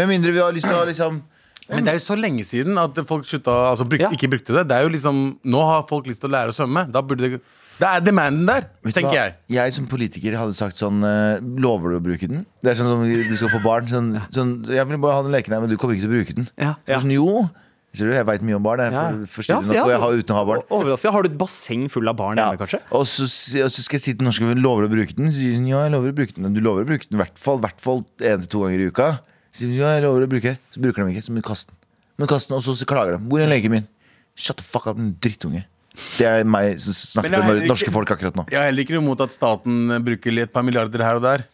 Med mindre vi har lyst til å liksom
Men det er jo så lenge siden at folk slutta, altså, bruk,
Ja.
ikke brukte det. det er jo liksom, nå har folk lyst til å lære å svømme. Da burde det, det er demanden der,
Vet du
tenker
hva?
jeg.
Jeg som politiker hadde sagt sånn eh, Lover du å bruke den? Det er sånn som du skal få barn. Sånn, sånn, jeg vil bare ha den leken her, men du kommer ikke til å bruke den.
Ja,
Så
ja.
Sånn, jo, Ser du, jeg veit mye om barn. Jeg
Ja.
er for- forstyrrende
Ja,
nok, og jeg
ja.
har uten å ha barn.
Overraskende. Har du et basseng full av barn
Ja.
hjemme, kanskje?
Og, så, si- og så skal jeg si til norske venner Lover du å bruke den? Så sier hun ja, jeg lover å bruke den Men Du lover å bruke den i hvert fall hvert fall en til to ganger i uka Så sier hun ja, jeg lover å bruke den Så bruker de ikke, så må du kaste den Men kaste den, og så, så klager de Hvor er leken min? Shut the fuck up, den drittunge Det er meg som
Men
snakker
det er
til
heller
nor- norske
ikke-
folk akkurat nå
Jeg har heller ikke noe imot at staten eh, bruker litt- et par milliarder her og der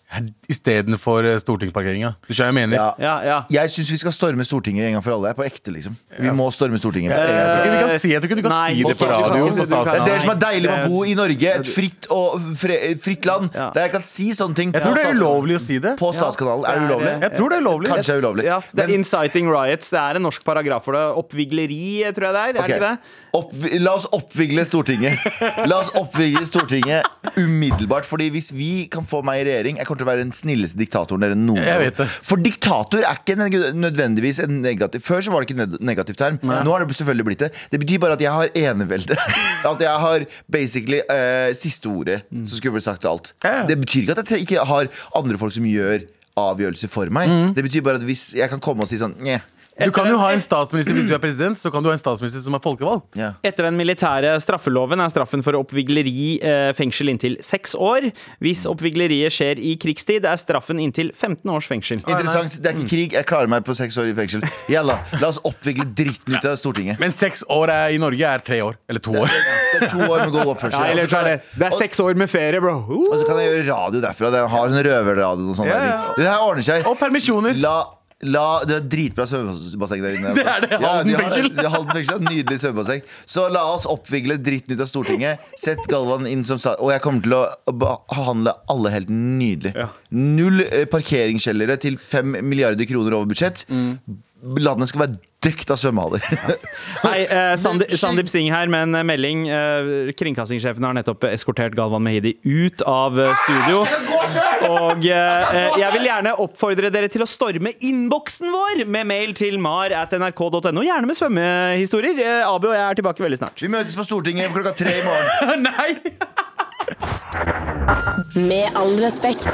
istedenfor stortingsparkeringa. eh, Du skjønner hva jeg mener?
ja.
Ja, ja.
Jeg synes vi skal storme Stortinget en gang for alle På ekte liksom Vi må storme Stortinget en gang for alle.
Jeg tror ikke vi kan si, jeg tror ikke du kan
Eh, Nei,
si det på
på statskanalen.
radio. På
Du
Det
kan-
er det som
statskanalen.
er deilig med å bo i Norge Et fritt, og fre, fritt land
Ja.
Der jeg kan si sånne ting
Jeg tror det er ulovlig å si det.
På statskanalen, er det ulovlig?
Jeg tror det er ulovlig.
Kanskje det er ulovlig
Ja, det er
Men-
Inciting riots. Det er en norsk paragraf for det. Oppvigleri, tror jeg det
Ok.
er. Er det ikke det?
Opp, la oss oppvigle Stortinget. La oss oppvigle Stortinget umiddelbart. Fordi hvis vi kan få meg i regjering Jeg kommer til å være den snilleste diktatoren dere noen
Jeg vet det.
For diktator er ikke neg- nødvendigvis en negativ Før så var det ikke ned- negativ term. Nå har det selvfølgelig blitt det. Det betyr bare at jeg har enevelde. At jeg har basically eh, siste ordet som skulle blitt sagt til alt.
Ja.
Det betyr ikke at jeg tre- ikke har andre folk som gjør avgjørelser for meg.
Mm.
Det betyr bare at hvis jeg kan komme og si sånn Njeh.
Du kan jo ha en statsminister hvis du er president, så kan du ha en statsminister som er folkevalgt.
Ja.
Etter den militære straffeloven er straffen for oppvigleri eh, fengsel inntil seks år. Hvis oppvigleriet skjer i krigstid, er straffen inntil 15 års fengsel.
Interessant. Det er ikke krig. Jeg klarer meg på seks år i fengsel. Jalla, La oss oppvigle dritten ut av Stortinget.
Men seks år er, i Norge er tre år. Eller to år.
Det er to år med god oppførsel.
Ja, eller
og så
så
kan
er det,
jeg-
det er seks år med ferie, bro!
og
Uh!
så kan jeg gjøre radio derfra. Det har sånn røverradio og sånn.
Ja,
der.
ja.
Det her ordner seg.
Og permisjoner.
La, la, det er dritbra svømmebasseng der inne.
Det er det, Halden
de har-
fengsel.
de har Halden fengsel. Nydelig svømmebasseng. Så la oss oppvigle dritten ut av Stortinget. Sett Galvan inn som stat... Og jeg kommer til å behandle alle helt nydelig. Null eh, parkeringskjellere til fem milliarder kroner over budsjett. Landet skal være dekt av svømmehaller.
Hei, eh, Sandi- Sandeep Singh her med en eh, melding. Eh, kringkastingssjefen har nettopp eskortert Galvan Mehidi ut av eh, studio. Og eh, eh, jeg vil gjerne oppfordre dere til å storme innboksen vår med mail til mar at nrk.no. Gjerne med svømmehistorier. Eh, Abu og jeg er tilbake veldig snart.
Vi møtes på Stortinget klokka tre i morgen.
Nei!
Med all respekt.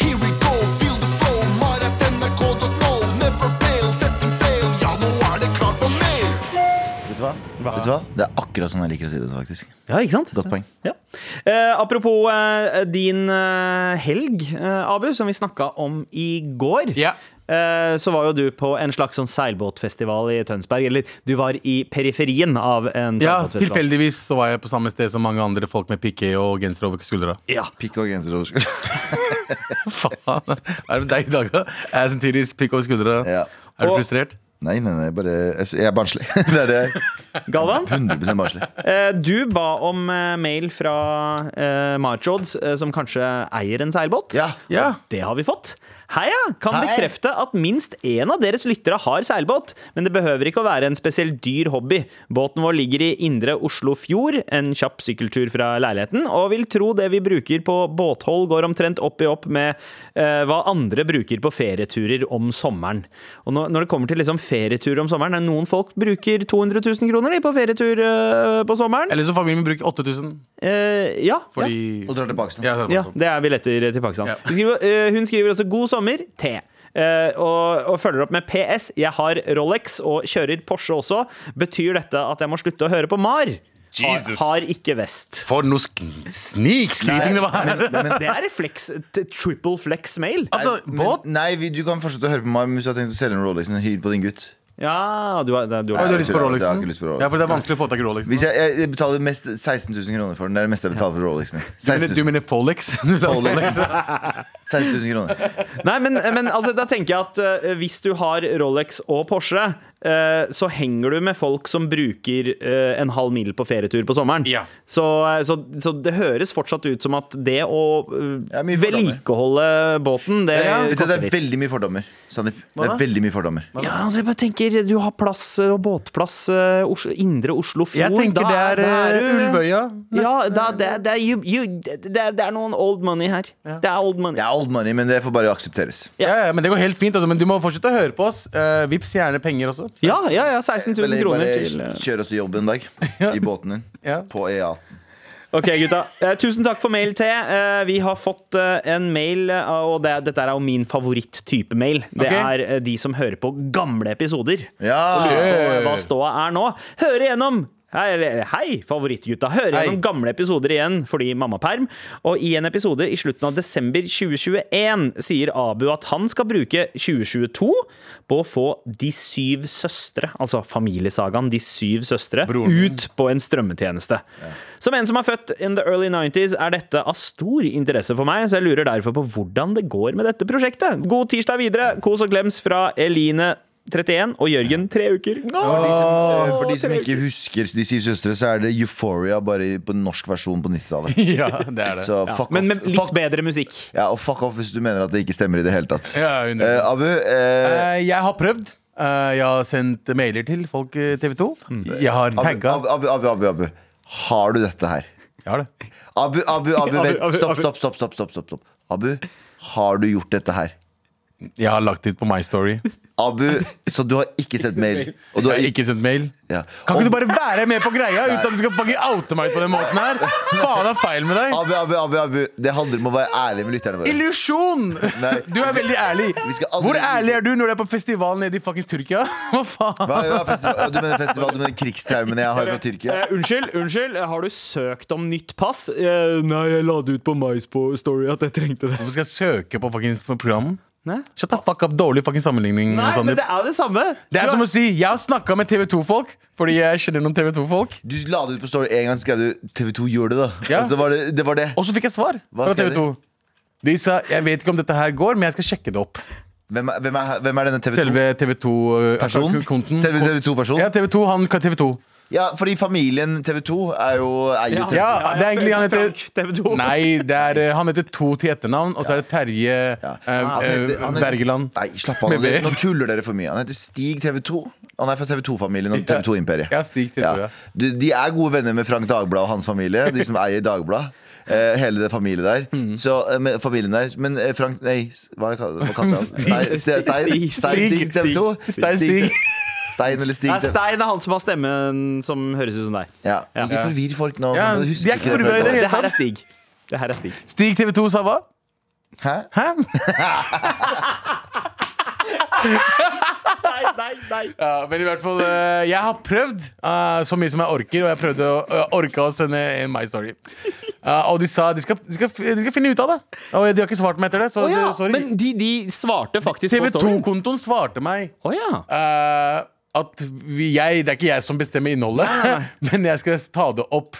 Here we go, feel the flow, mar at nrk.no. Never fail, setting sail, ja nå er det klart for mer.
Vet du hva? Vet du hva? Det er akkurat sånn jeg liker å si det, faktisk.
Ja, ikke sant?
Godt poeng.
Ja. Eh, apropos eh, din eh, helg, eh, Abu, som vi snakka om i går.
Ja.
Eh, så var jo du på en slags sånn seilbåtfestival i Tønsberg. Eller du var i periferien av en
Ja,
seilbåtfestival.
tilfeldigvis så var jeg på samme sted som mange andre folk med piké og genser over skuldra.
Ja,
Pikk og genser over skulderen.
Faen, er det deg i dag, da? Jeg er samtidig pikk over skuldra.
Ja.
Er du
Og-
frustrert?
Nei, nei, nei, bare Jeg er barnslig. Det er det. jeg er.
Galvan,
100 barnslig.
eh, du ba om eh, mail fra eh, Marchods, eh, som kanskje eier en seilbåt.
Ja.
Ja.
Det har vi fått. Heia! Kan
Hei.
bekrefte at minst én av deres lyttere har seilbåt, men det behøver ikke å være en spesielt dyr hobby. Båten vår ligger i indre Oslo fjord, en kjapp sykkeltur fra leiligheten, og vil tro det vi bruker på båthold går omtrent opp i opp med eh, hva andre bruker på ferieturer om sommeren. Og når, når det kommer til liksom ferietur om sommeren, er det noen folk bruker 200 000 kroner de, på ferietur eh, på sommeren.
Eller så familien min bruker 8000
Eh, ja, ja.
fordi
Og drar til Pakistan.
Ja, det er
Ja,
bare sånn.
det er billetter til Pakistan.
Ja.
Hun, skriver, eh, hun skriver også 'God sommer, T'. Eh, og, og følger opp med PS. Jeg har Rolex og kjører Porsche også. Betyr dette at jeg må slutte å høre på Mar? Har,
Jesus.
har ikke vest.
For noe sk- snikskryting det var!
Det er reflex, t- triple flex-mail.
Altså, båt
Men, nei, vi, du kan fortsette å høre på meg hvis du har tenkt å selge en Rolex og hyre på din gutt.
Ja, du har, det- du
Oi,
har.
du har lyst på
Jeg har
Rolexen?
ikke lyst på Rolexen.
Ja, for det er vanskelig å få tak i Rolexen.
Hvis jeg, jeg betaler mest 16 000 kroner for den. Det er det meste jeg betaler for Rolexen.
Men
16
Du
000,
mener Folex? Du vil ha
Rolex.
Folex.
16 000 kroner.
Nei, men, men altså, da tenker jeg at eh, hvis du har Rolex og Porsche, eh, så henger du med folk som bruker eh, en halv mil på ferietur på sommeren.
Ja.
Så, eh, så, så det høres fortsatt ut som at det å
Ja,
eh,
mye fordommer.
vedlikeholde båten, det
Vet du, det
koster
er
litt.
veldig mye fordommer. Sandeep. Det
da?
er veldig mye fordommer.
Ja, altså jeg bare tenker Du har plass eh, og båtplass eh, Oslo, Indre Oslo Fjord
Jeg tenker det
da-
er,
da
eh,
du-
Ulvøya.
Ja, da, det, er- det, er, you, you, det, er, det er noen old money her Det er old money
Det er old money, men det får bare aksepteres.
Ja, ja, men det går helt fint, altså. Men du må fortsette å høre på oss. Uh, Vips gjerne penger også.
Ja, ja, ja 16 000
Eller
kroner
bare
til eh.
kjøre oss til jobb en dag i båten din.
Ja.
På E18.
Ok, gutta. Eh, tusen takk for mail, T. Eh, vi har fått eh, en mail, eh, og det, dette er jo min favoritt-type mail. Det
Ok.
er eh, de som hører på gamle episoder.
Ja!
Og hva ståa er nå. Hør igjennom! Hei, eller, hei favorittgutta. Hør
Hei.
gjennom gamle episoder igjen fordi mammaperm. Og i en episode i slutten av desember 2021 sier Abu at han skal bruke 2022 på å få De syv søstre, altså familiesagaen De syv søstre,
Broren min.
ut på en strømmetjeneste. Som en som er født in the early 90s, er dette av stor interesse for meg, så jeg lurer derfor på hvordan det går med dette prosjektet. God tirsdag videre! Kos og klems fra Eline 31 og Jørgen tre uker. Nå!
For de, som, Eh, for de som ikke husker De syv søstre, så er det Euphoria bare i- på den norsk versjon på 90-tallet.
Ja, det er det.
Så fuck
Men
off.
med litt
Fuck,
bedre musikk.
ja, og fuck off hvis du mener at det ikke stemmer i det hele tatt.
Ja, hundre.
Eh, Abu, eh,
Eh, jeg har prøvd. Eh, jeg har sendt mailer til folk i TV 2. Jeg har
Abu,
tagga.
Abu, Abu, Abu, Abu, Abu. Har du dette her?
Jeg har det.
Abu, Abu, Abu,
Abu,
vent.
Abu,
Stopp,
Abu.
stopp, stopp. stopp, stopp, stopp, stopp. Abu, har du gjort dette her?
Jeg har lagt ut på My Story.
Abu, så du har ikke sendt mail? Og du har
Jeg har
ikke
ikke sendt mail.
ja.
Kan
Om-
ikke du bare være med på greia uten at du skal fucking oute meg på den måten her? Faen, det er feil med deg.
Abu, Abu, Abu, Abu, det handler om å være ærlig med lytterne våre.
Illusjon!
Nei.
Du er veldig ærlig.
Vi skal aldri-
Hvor ærlig er du når du er på festival nede i fuckings Tyrkia? Hva faen?
Hva, hva, festival, du mener festival, du mener krigstraumene jeg har fra Tyrkia?
Eh, unnskyld, unnskyld, har du søkt om nytt pass? Eh, nei, jeg la det ut på MyStory at jeg trengte det.
Hvorfor skal jeg søke på fucking på programmet?
Nei,
Shut the fuck up, dårlig fucking sammenligning.
men
Sandeep.
det er jo det samme.
Det er som å si jeg har snakka med TV2-folk fordi jeg kjenner noen TV2-folk.
Du la det ut på story en gang, skrev du TV2 gjorde det, da.
Ja.
Altså, det var det, det var det.
Og så fikk jeg svar
Hva
fra
skrev
TV2. De sa jeg vet ikke om dette her går, men jeg skal sjekke det opp.
Hvem, er- hvem, er, hvem er denne TV2-personen?
Selve TV2-konten.
Selve TV2-personen?
Ja, TV2, han TV2.
Ja, fordi familien TV2 er jo eier jo TV2.
Ja, det er egentlig han heter
TV 2.
Nei, det er, eh, han heter to til etternavn, og så er det Terje
Ja. Han
eh,
heter- han
eh,
heter-
Wergeland.
Nei, slapp av.
Med V.
Nå- Nå tuller dere for mye. Han heter Stig TV2. Han er fra TV2-familien og TV2-imperiet.
Ja, Stig TV2, ja.
Du, De er gode venner med Frank Dagblad og hans familie, de som eier Dagblad. Eh, hele det familiet der.
Mm.
Så, eh, med familien der Men eh, Frank Nei, s- hva er det kall- hva kalte han? Stein- Stein Stein-
Stig.
Stein- Stig TV2?
Stein Stig.
Stein eller Stig
Nei,
TV2.
Stein er han som har stemmen som høres ut som deg.
Ja.
Ja.
Ikke forvirr folk nå.
Ja,
men
de er
husker
ikke forvirret i
det fra-
det hele
Det her er Stig. Det her er Stig.
Stig TV2 sa hva?
Hæ?
Hæ?
Nei, nei, nei.
Ja, men i hvert fall, eh, jeg har prøvd eh, så mye som jeg orker, og jeg prøvde å eh, orka å sende en My Story. Eh, og de sa de skal, de, skal, fi- de skal finne ut av det. Og de har ikke svart meg etter det. Så
Å ja,
det- sorry.
men de, de svarte faktisk på storyen.
TV2-kontoen svarte meg
Å ja.
eh, at vi, jeg, det er ikke jeg som bestemmer innholdet, men jeg skal ta det opp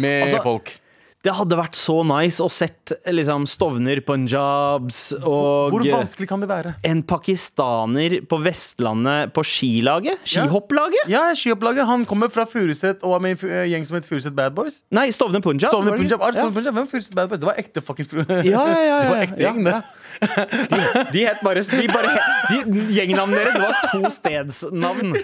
med
Altså,
folk.
Det hadde vært så nice å sett liksom, Stovner, Punjabs og
Hvor vanskelig kan det være?
en pakistaner på Vestlandet på skilaget? Skihopplaget?
Ja, skioppslaget. Han kommer fra Furuset og var med i en fu- eh, gjeng som het Furuset Bad Boys.
Nei, Stovner Punjab.
Stovner
var det
Punjab,
ikke?
Art Stovner Punjab, hvem er Furuset Bad Boys? Det var ekte fuckings
Ja, ja, ja, ja,
Det var
ja.
ekte gjeng, det.
Ja. De het bare, de bare de, Gjengnavnene deres var to stedsnavn.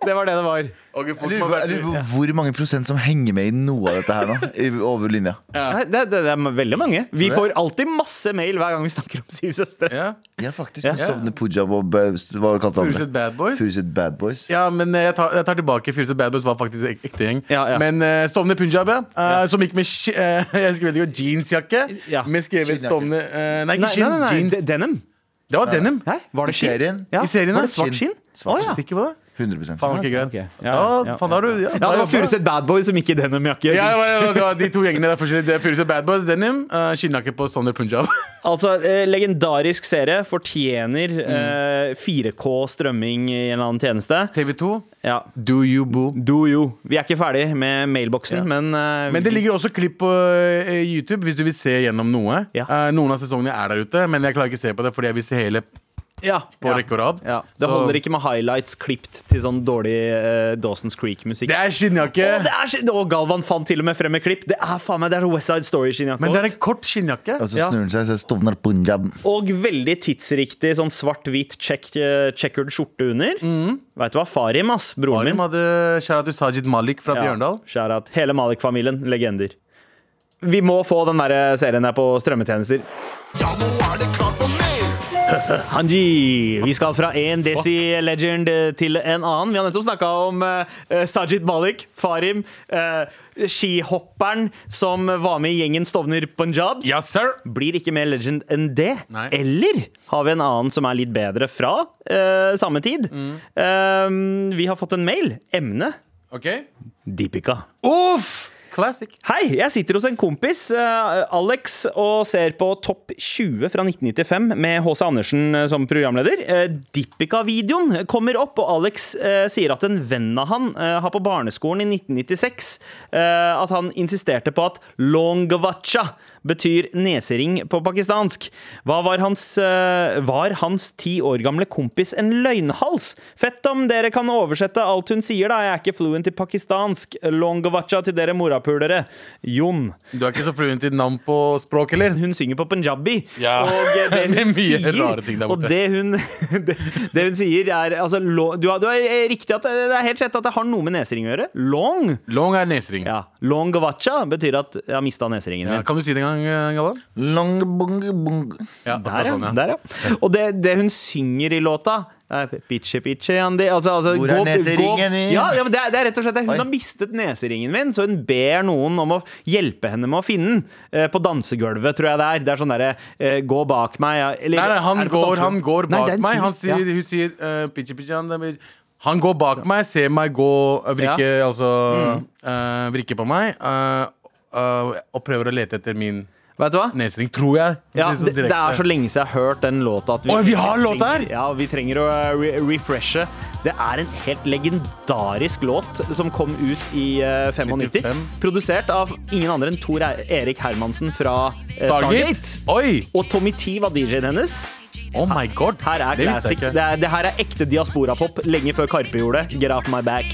Det var det det var.
Ok, folk
Jeg
som
lurer
har
på-
vært-
jeg lurer på hvor mange prosent som henger med i noe av dette her nå. i- Over linja.
Nei, Det, det, det er veldig mange. Vi
Tror
får
det.
alltid masse mail hver gang vi snakker om Syv søstre.
Ja.
Ja, faktisk. med Stovner Pujab og Bø- Hva var det kalt andre?
Furuset Bad Boys.
Furuset Bad Boys.
Ja, men eh, jeg tar, jeg tar tilbake Furuset Bad Boys var faktisk ek ekte gjeng.
Ja, ja.
Men eh, Stovner Punjab, ja. eh, som gikk med ski- eh, jeg skrev ikke jeansjakke.
Ja.
Med skrevet
Skinnjakke.
Stovner eh,
Nei,
Nei, ikke
nei,
skinn.
nei, nei.
Jeans.
de- Denim?
Det var denim.
Hæ? Var det
I
skinn?
serien?
Ja.
I serien,
var
ja.
det svart skinn?
Skinn.
Å
Er
ja.
du sikker på det?
100
Faen, ok, greit.
Ok, ja,
Ja,
ja, ja.
faen, da har du Ja,
Ja, det var Furuset Bad Boy som gikk i denimjakke.
Ja, det var, det var- det var de to gjengene der forskjellig. Det er Furuset Bad Boys, denim. Uh, Skinnjakke på Stovner Punjab.
Altså, eh, legendarisk serie fortjener eh, 4K strømming i en eller annen tjeneste.
TV2,
Ja.
Do You Boo.
Do you. Vi er ikke ferdig med mailboksen, men eh,
Men det ligger også klipp på eh, YouTube hvis du vil se gjennom noe.
Ja.
Eh, noen av sesongene er der ute, men jeg klarer ikke å se på det fordi jeg vil se hele
Ja,
på rekke og rad.
Ja. Det
Så-
holder ikke med highlights klippet til sånn dårlig eh, Dawson's Creek-musikk.
Det er skinnjakke!
Å, det er så- Å, Galvan fant til og med frem et klipp. Det er faen meg, det er så West Side Story-skinnjakke.
Men det er
også.
en kort skinnjakke.
Og så
Ja.
snur han seg, så stovner punjab.
Og veldig tidsriktig sånn svart-hvit check, eh, checkered skjorte under.
Mm.
Vet du hva? Farim, ass. Broren min.
Arim hadde Sharatu Sajid Malik fra Bjørndal.
Skjær at hele Malik-familien, legender. Vi må få den der eh, serien der på strømmetjenester.
Ja, nå er det klart for mer.
Hanji! Vi skal fra en Desi-legend til en annen. Vi har nettopp snakka om eh, Sajid Malik, Farim, eh, skihopperen som var med i gjengen Stovner Punjabs.
Yes, sir!
Blir ikke mer legend enn det.
Nei.
Eller har vi en annen som er litt bedre fra eh, samme tid? Eh, vi har fått en mail. Emne
Ok.
Deepika.
Uff! Classic.
Hei, jeg sitter hos en kompis, eh, Alex, og ser på Topp 20 fra 1995 med H.C. Andersen eh, som programleder. Eh, Dipika-videoen kommer opp, og Alex eh, sier at en venn av han eh, har på barneskolen i 1996 eh, at han insisterte på at longvacha betyr nesering på pakistansk. Hva var hans, eh, var hans ti år gamle kompis en løgnhals? Fett om dere kan oversette alt hun sier, da. Jeg er ikke fluent i pakistansk. Longvacha til dere morapulere. Jon.
Du er ikke så fluent i navn på språk, eller?
Hun synger på punjabi.
Ja.
Og eh, det hun
Det er mye
sier,
rare ting der
Og
borte.
det hun, det, det hun sier, er altså, lo, du, har- du har eh, riktig at det er helt rett at det har noe med nesering å gjøre. Long.
Long er nesering.
Ja. Longvacha betyr at jeg har mista neseringen min.
Ja, kan du si det en gang, eh, Galvan?
Long bung bung.
Ja,
Der, ja.
sånn, ja.
Der, ja. Og det, det hun synger i låta er Bitche, bitche, Andy altså, altså,
Hvor er
gå-
neseringen min?
gå- Ja, ja, men det, er, det er rett og slett det. Hun
Oi.
har mistet neseringen min, så hun ber noen om å hjelpe henne med å finne den. Eh, på dansegulvet, tror jeg det er. Det er sånn derre eh, Gå bak meg. Ja. Eller,
Nei, nei,
er
han,
det på
går,
dansegulvet?
han går
Nei,
bak
det er en
meg.
ting.
Han sier,
ja.
Hun sier eh, pitchi, pitchi, han, han- Han går bak meg, ser meg gå eh, vrikke, altså,
Mm.
eh, vrikke på meg, eh, eh, og prøver å lete etter min
Vet du hva?
nesering, tror jeg.
Ja,
Sånn
det, det
direkte.
er så lenge siden jeg har hørt den låta at
Oi, vi har låt
trenger-
her!
Ja, vi trenger å eh, re refreshe. Det er en helt legendarisk låt som kom ut i eh, 95.
95.
Produsert av ingen andre enn Tor E- Erik Hermansen fra eh, Stargate.
Stargate? Oi!
Og Tommy T var DJ-en hennes.
Oh my god.
Her er
det visste
classic.
jeg ikke.
Det, er, det her er ekte diasporapop lenge før Karpe gjorde det. Get off my back.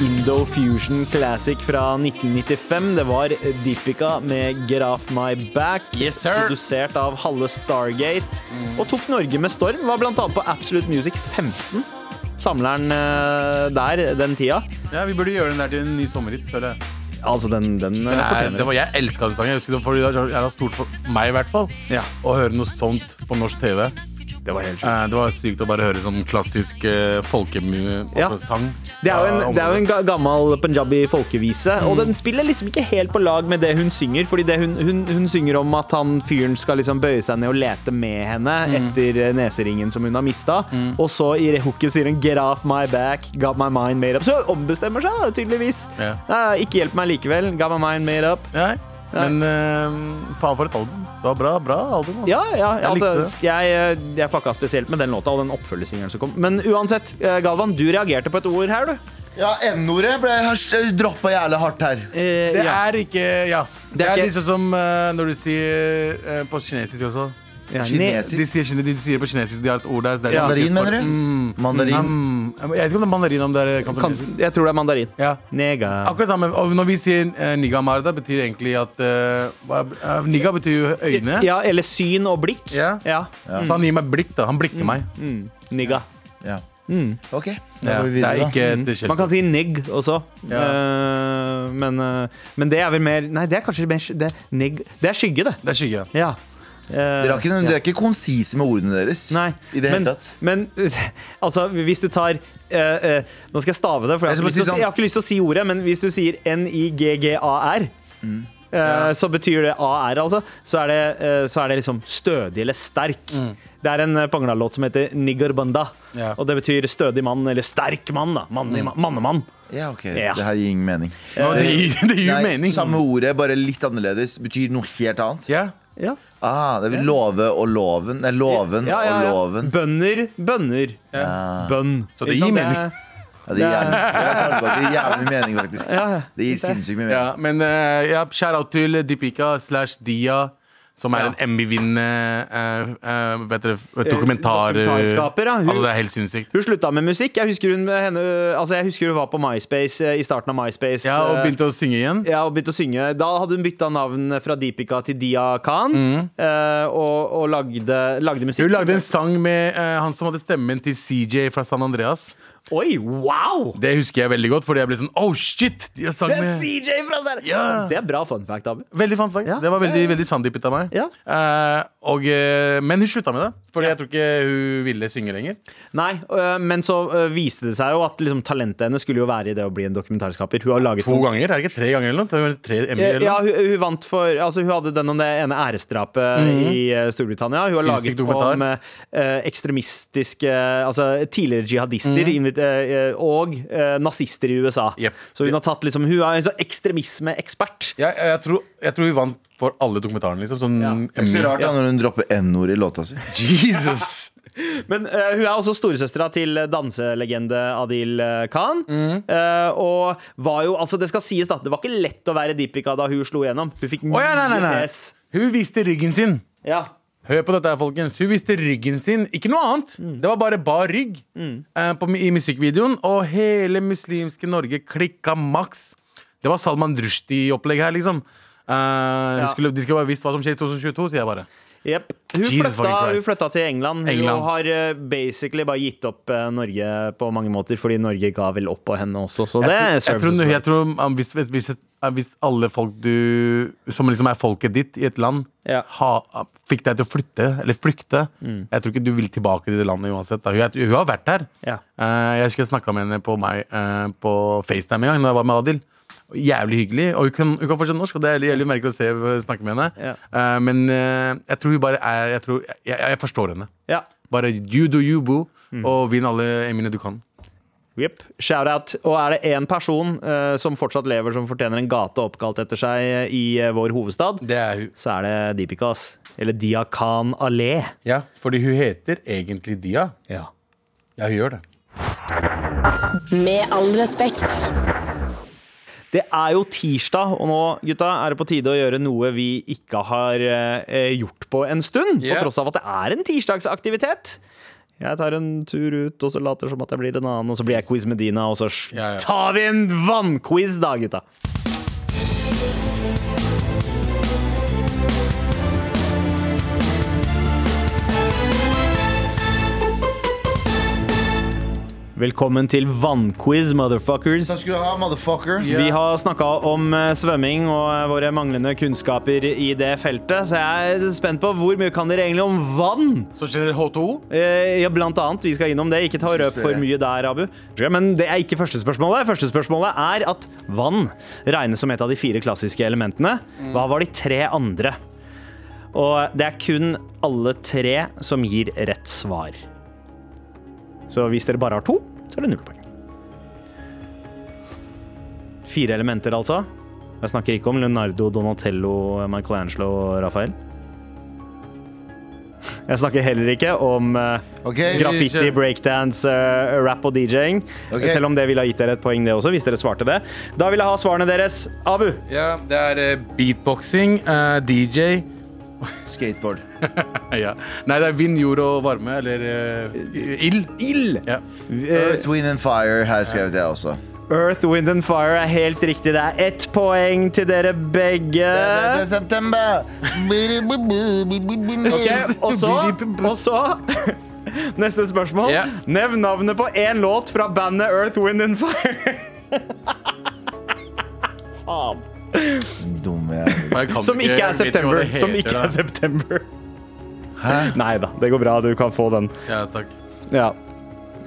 Indo Fusion Classic fra 1995. Det var Deepika med Get Off My Back.
Yes, sir.
Produsert av halve Stargate. Og tok Norge med storm. Var blant annet på Absolute Music 15. Samleren eh, der den tida.
Ja, vi burde gjøre den der til en ny sommerhit, føler jeg.
Altså, den, den, eh,
Det er,
fortjener
det var, jeg elska den sangen. Jeg husker det, for det var stort for meg, i hvert fall.
Ja.
Å høre noe sånt på norsk TV.
det var helt sjukt.
Eh, Det var sykt å bare høre sånn klassisk altså uh, folkesang.
Ja. Det er jo en, det er jo en ga- gammel punjabi folkevise, og
Mm.
den spiller liksom ikke helt på lag med det hun synger. Fordi det hun, hun, hun synger om at han fyren skal liksom bøye seg ned og lete med henne
Mm.
etter eh, neseringen som hun har mista. Og så i det hooket sier hun 'get off my back', 'got my mind made up'. Så hun ombestemmer seg da, tydeligvis.
Ja.
Nei, ikke hjelp meg likevel, 'got my mind made up'.
Nei. Men eh, faen for et album. Det var bra, bra album. altså.
Ja, ja,
Jeg likte
altså,
det.
jeg, eh, jeg fucka spesielt med den låta og den oppfølgesingelen som kom. Men uansett, eh, Galvan, du reagerte på et ord her, du.
Ja, N-ordet ble droppa jævlig hardt her.
Det er ikke Ja. Det er
ikke-
liksom som eh, når du sier eh, på kinesisk også.
Ja, ne-
Kinesisk.
De sier, kine- de sier på kinesisk, de har et ord der. der
Ja.
Mandarin, mener du? Mandarin.
Mm, Jeg vet ikke om det er mandarin om det er
Kan,
kantonesisk.
jeg tror det er mandarin.
Ja.
Nega.
Akkurat samme. Og når vi sier uh, niga marda, betyr det egentlig at eh, hva- eh, Niga betyr jo øyne.
Ja, eller syn og blikk.
Ja. Så han gir meg blikk, da. Han
Mm.
blikker meg.
Nigga.
Ja. Ok, da går vi
Ja. Det er
videre, da.
ikke et
Mm. Man kan
skjellsord.
si nigg også.
Ja.
Eh, men, eh, men det er vel mer Nei, det er kanskje mer sk- det, er nigg. det er skygge, det.
Det er skygge.
Ja. Eh,
Dere er ikke, dere er ikke konsise med ordene deres.
Nei,
I det
men,
hele tatt.
men altså, hvis du tar eh, eh, Nå skal jeg stave det, for
Jeg
jeg har,
skal bare
ikke lyst til å
si
si, jeg har ikke lyst til å si ordet, men hvis du sier N-I-G-G-A-R,
Mm.
eh, så betyr det AR, altså. Så er det, eh, så er det liksom stødig eller sterk.
Mm.
Det er en eh, Bangla-låt som heter Niggerbanda,
Ja.
og det betyr stødig mann eller sterk mann. da Mann-
Mm.
Mannemann.
Ja, ok,
Ja.
Det her gir ingen mening.
Eh,
Ja, det gir, det gir jo
Nei,
mening.
Samme ordet, bare litt annerledes, betyr noe helt annet.
Ja.
Ja.
Ah, det er love og loven. Nei, loven
Ja, ja, ja.
og loven.
Bønder, bønner. Bønn.
Så
Ikke
det gir
sant?
mening.
er-
Ja, det gir jævlig, ja, det gir jævlig mening, faktisk. Det gir sinnssykt mye
ja.
mening.
Men eh, ja, shout out til Deepika slash Dia, som er
Ja.
en Emmy-vinnende eh, eh, Vet dere, dokumentar...
dokumentarskaper, ja. Hun-
Altså, det er helt sinnssykt.
Hun slutta med musikk. Jeg husker hun, henne, altså jeg husker hun var på MySpace eh, i starten av MySpace.
Ja, og
eh,
begynte å synge igjen.
ja, og begynte å synge. Da hadde hun bytta navn fra Deepika til Dia Khan. eh, og og lagde, lagde musikk.
Mm. Hun lagde en sang med eh, han som hadde stemmen til CJ fra San Andreas.
Oi, wow!
Det husker jeg veldig godt, fordi jeg ble sånn Oh shit! De har sang
Det er
med
CJ fra Sverige!
Ja.
Det er bra fun fact, Abu.
Veldig fun fact.
Ja.
Det var veldig, veldig sandeepet av meg.
Ja.
Eh, og, eh, men hun slutta med det, Fordi jeg tror ikke hun ville synge lenger.
Nei, øh, men så øh, viste det seg jo at liksom, talentet hennes skulle jo være i det å bli en dokumentarskaper. Hun har laget
To ganger? Er det ikke tre ganger? eller noe? Tre- Tre Emmy eller
Eh, Ja,
noe?
hun, hun vant for Altså, hun hadde den om det ene æresdrapet
Mhm.
i eh, Storbritannia. Hun har laget
Sinnssyk dokumentar.
om eh, ekstremistiske Altså tidligere jihadister invit- eh, eh, og eh, nazister i USA.
Mhm. Jep.
Så hun har tatt liksom Hun er en sånn ekstremismeekspert.
Jeg, jeg, tror, jeg tror hun vant for alle dokumentarene, liksom. Sånn
Det er ikke så
Emmy.
rart da når hun dropper N-ordet i låta si.
Jesus!
Men eh, hun er også storesøstera til danselegende Adil eh, Khan.
Mhm.
Eh, og var jo Altså, det skal sies, da. Det var ikke lett å være Deepika da hun slo igjennom. Hun fikk
Å ja, nei, nei, nei.
pes.
Hun viste ryggen sin.
Ja.
Hør på dette, her, folkens. Hun viste ryggen sin, ikke noe annet. Det var bare bar rygg eh, på, i musikkvideoen, og hele muslimske Norge klikka maks. Det var Salman Rushdie-opplegg her, liksom. Eh, hun skulle, de skulle bare visst hva som skjer i 2022, sier jeg bare.
Jepp. Hun,
Jesus
flytta,
fucking Christ.
hun flytta til England. Hun
England.
har eh, basically bare gitt opp eh, Norge på mange måter, fordi Norge ga vel opp på henne også, så det
jeg, tror, jeg,
serves
tror,
as
jeg
right.
tror um, hvis, hvis, hvis, et- hvis alle folk du Som liksom er folket ditt i et land,
Ja.
ha, fikk deg til å flytte, eller flykte Jeg tror ikke du vil tilbake til det landet uansett. Da. Hun, er- hun har vært der.
Ja.
Eh, jeg husker jeg snakka med henne på, meg, eh, på FaceTime en gang Når jeg var med Adil. Jævlig hyggelig. Og hun kan, hun kan fortsatt norsk, og det er jævlig- jævlig merkelig å se snakke med henne. Eh, men eh, jeg tror hun bare er Jeg, tror, jeg, jeg, jeg forstår henne.
Ja.
Bare you do you, boo,
Mm.
og vinn alle Emiene du kan.
Yep. Shout-out. Og er det én person eh, som fortsatt lever, som fortjener en gate oppkalt etter seg eh, i eh, vår hovedstad,
Det er hun.
så er det Deepika, ass. Eller Diakan Allé.
Ja, fordi hun heter egentlig Dia.
Ja.
Ja, hun gjør det.
Med all respekt.
Det er jo tirsdag, og nå gutta, er det på tide å gjøre noe vi ikke har eh, gjort på en stund.
Ja.
På tross av at det er en tirsdagsaktivitet. Jeg tar en tur ut, og så later som at jeg blir en annen, og så blir jeg quiz med Dina, og så sj-
Ja, ja.
tar vi en vannquiz da, gutta. Velkommen til vannquiz, motherfuckers.
Takk skal du ha, motherfucker.
Vi har snakka om eh, svømming og eh, våre manglende kunnskaper i det feltet, så jeg er spent på hvor mye kan dere egentlig om vann?
Så skjer det H2O.
Eh, ja, blant annet. Vi skal innom det. Ikke ta røp for mye der, Abu. Ja, Men det er ikke første spørsmålet. Første spørsmålet er at vann regnes som et av de fire klassiske elementene. Hva var de tre andre? Og det er kun alle tre som gir rett svar. Så hvis dere bare har to, så er det null poeng. Fire elementer, altså. Jeg snakker ikke om Leonardo, Donatello, Michelangelo og Raphael. Jeg snakker heller ikke om eh,
Ok,
Graffiti, breakdance, eh, rap og DJ-ing.
Ok.
Selv om det ville ha gitt dere et poeng, det også, hvis dere svarte det. Da vil jeg ha svarene deres. Abu.
Ja, det er eh, beatboxing, eh, DJ,
Skateboard.
Ja. Nei, det er vind, jord og varme. Eller eh, ild.
Ild!
Ja.
Eh,
Twin and Fire, her skrev jeg også.
Earth, Wind and Fire er helt riktig. Det er ett poeng til dere
Det,
begge.
det, det er september!
Ok, og så, og så Neste spørsmål.
Ja.
Nevn navnet på én låt fra bandet Earth, Wind and Fire. Faen.
Dumme jævel.
Jeg kan
Som ikke er
jeg vet hva
September.
det
Som
heter,
ikke
da.
er September. Nei da, det går bra. Du kan få den.
Ja, takk.
Ja.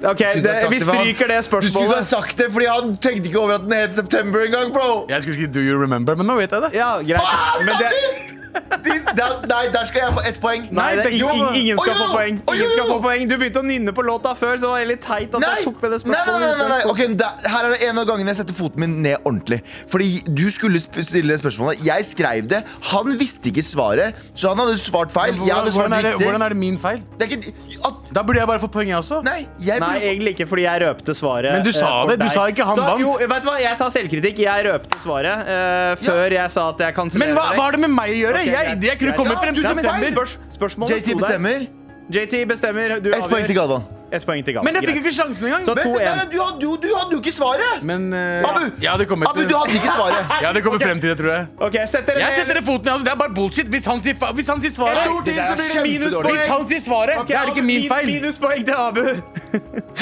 OK,
Du skulle
det,
ha sagt
vi
det, for han-
stryker det
Du skulle ha
spørsmålet.
sagt det, fordi han tenkte ikke over at den het September engang, bro! Ah,
Jeg skulle si 'Do you remember', men nå vet jeg det.
Ja, greit. Men det,
Der- Nei, der skal jeg få ett poeng.
nei, det,
begge
ingen,
må-
ingen skal
Å,
få
jo, jo,
poeng.
å, jo,
Ingen skal
jo.
få poeng. Du begynte å nynne på låta før, så det var litt teit at jeg tok med det spørsmålet.
Nei, nei, nei, nei, nei. Ok, da, Her er det en av gangene jeg setter foten min ned ordentlig. Fordi du skulle sp stille spørsmålet. Jeg skrev det. Han visste ikke svaret, så han hadde svart feil. Jeg hadde
hvordan,
svart
er det,
riktig.
hvordan er det min feil?
Det er ikke at,
Da burde jeg bare få poeng, jeg også.
Nei, jeg
Nei,
burde
egentlig ikke, fordi jeg røpte svaret.
Men du sa
eh, for
det, du
deg.
sa ikke han
så,
vant.
Jo, vet du hva, jeg tar selvkritikk. Jeg røpte svaret eh, før jeg sa at jeg
Men
kansellerer
hva, hva har det med meg å gjøre?
Ok,
jeg,
greit,
jeg kunne
greit.
komme
Ja,
frem
du
til
sa feil.
september.
Spørs, spørsmålet
JT
sto der.
bestemmer.
JT bestemmer. Du
Ett poeng til
avgjør.
Galvan.
Ett poeng til Galvan.
Men jeg fikk jo
greit.
ikke sjansen engang.
Så
Men det
2-1.
der, du, hadde jo- du hadde jo ikke svaret!
Men eh,
Abu,
jeg hadde kommet,
Abu, du hadde ikke svaret.
jeg hadde kommet
Ok.
frem til det, tror jeg.
Ok, sett dere
Jeg
ned.
setter det foten i altså. Det er bare bullshit. Hvis han sier, fa- hvis han sier
Et
svaret
ord til,
Det der
så
er
blir det
kjempedårlig.
minuspoeng.
Hvis han sier svaret,
Ok,
det er ikke
Abu,
min
min-
feil.
Minuspoeng til Abu. Hæ?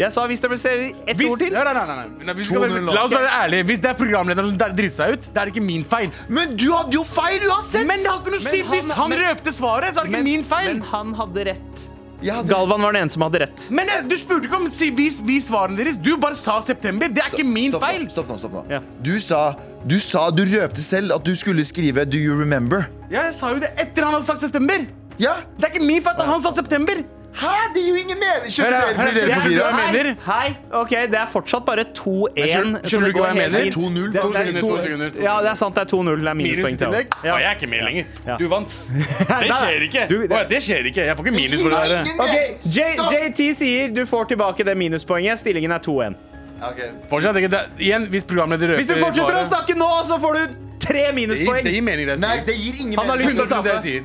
Jeg sa hvis dere ser ett
Hvis,
ord til.
nei, nei, nei, nei. nei. Vi skal være,
2-0 nå.
la oss være ærlige. Hvis det er programlederen som der- driter seg ut, det er ikke min feil.
Men du hadde jo feil uansett!
Men det har ikke noe å si.
Men han-
Hvis han
men-
røpte svaret, så er det ikke min feil.
Men han hadde rett.
Jeg hadde-
Galvan var den ene som hadde rett.
Men eh, du spurte ikke om si, vis, vis svarene deres. Du bare sa september. Det er ikke min
Stopp nå,
feil.
Stopp nå, stopp nå.
Ja.
Du sa Du sa, du røpte selv at du skulle skrive 'Do you remember'?
Jeg sa jo det etter han hadde sagt september.
Ja?
Det er ikke min feil at han sa september.
Hæ? Det gir jo ingen mening! Skjønner
Hør her,
dere,
hør her,
blir dere
jeg-
forvirra?
jeg-
Hei,
mener?
Hei, ok, det er fortsatt bare 2-1.
skjønner-
så
skjønner
det
du ikke hva
går
jeg
helt
mener?
fint.
2-0,
Det er- det er
2-0,
2-0, 2-0.
Ja, det er sant, det er 2-0. Det er minuspoeng til ham. Ja.
Å, jeg er ikke med lenger.
Ja.
Du vant. Det skjer ikke.
Du-
Å, det skjer ikke. Jeg får ikke minus for det
Nei,
der.
ingen
Ok,
mening.
J
Stopp.
JT sier du får tilbake det minuspoenget. Stillingen er 2-1.
Ok.
Fortsatt ikke. Det, igjen, hvis programleder røper
Hvis du fortsetter å snakke nå, så får du tre
det gir, det
minuspoeng.
gir mening, det
Nei,
jeg sier.
det gir ingen
Han har
mening.
lyst til å
100% det jeg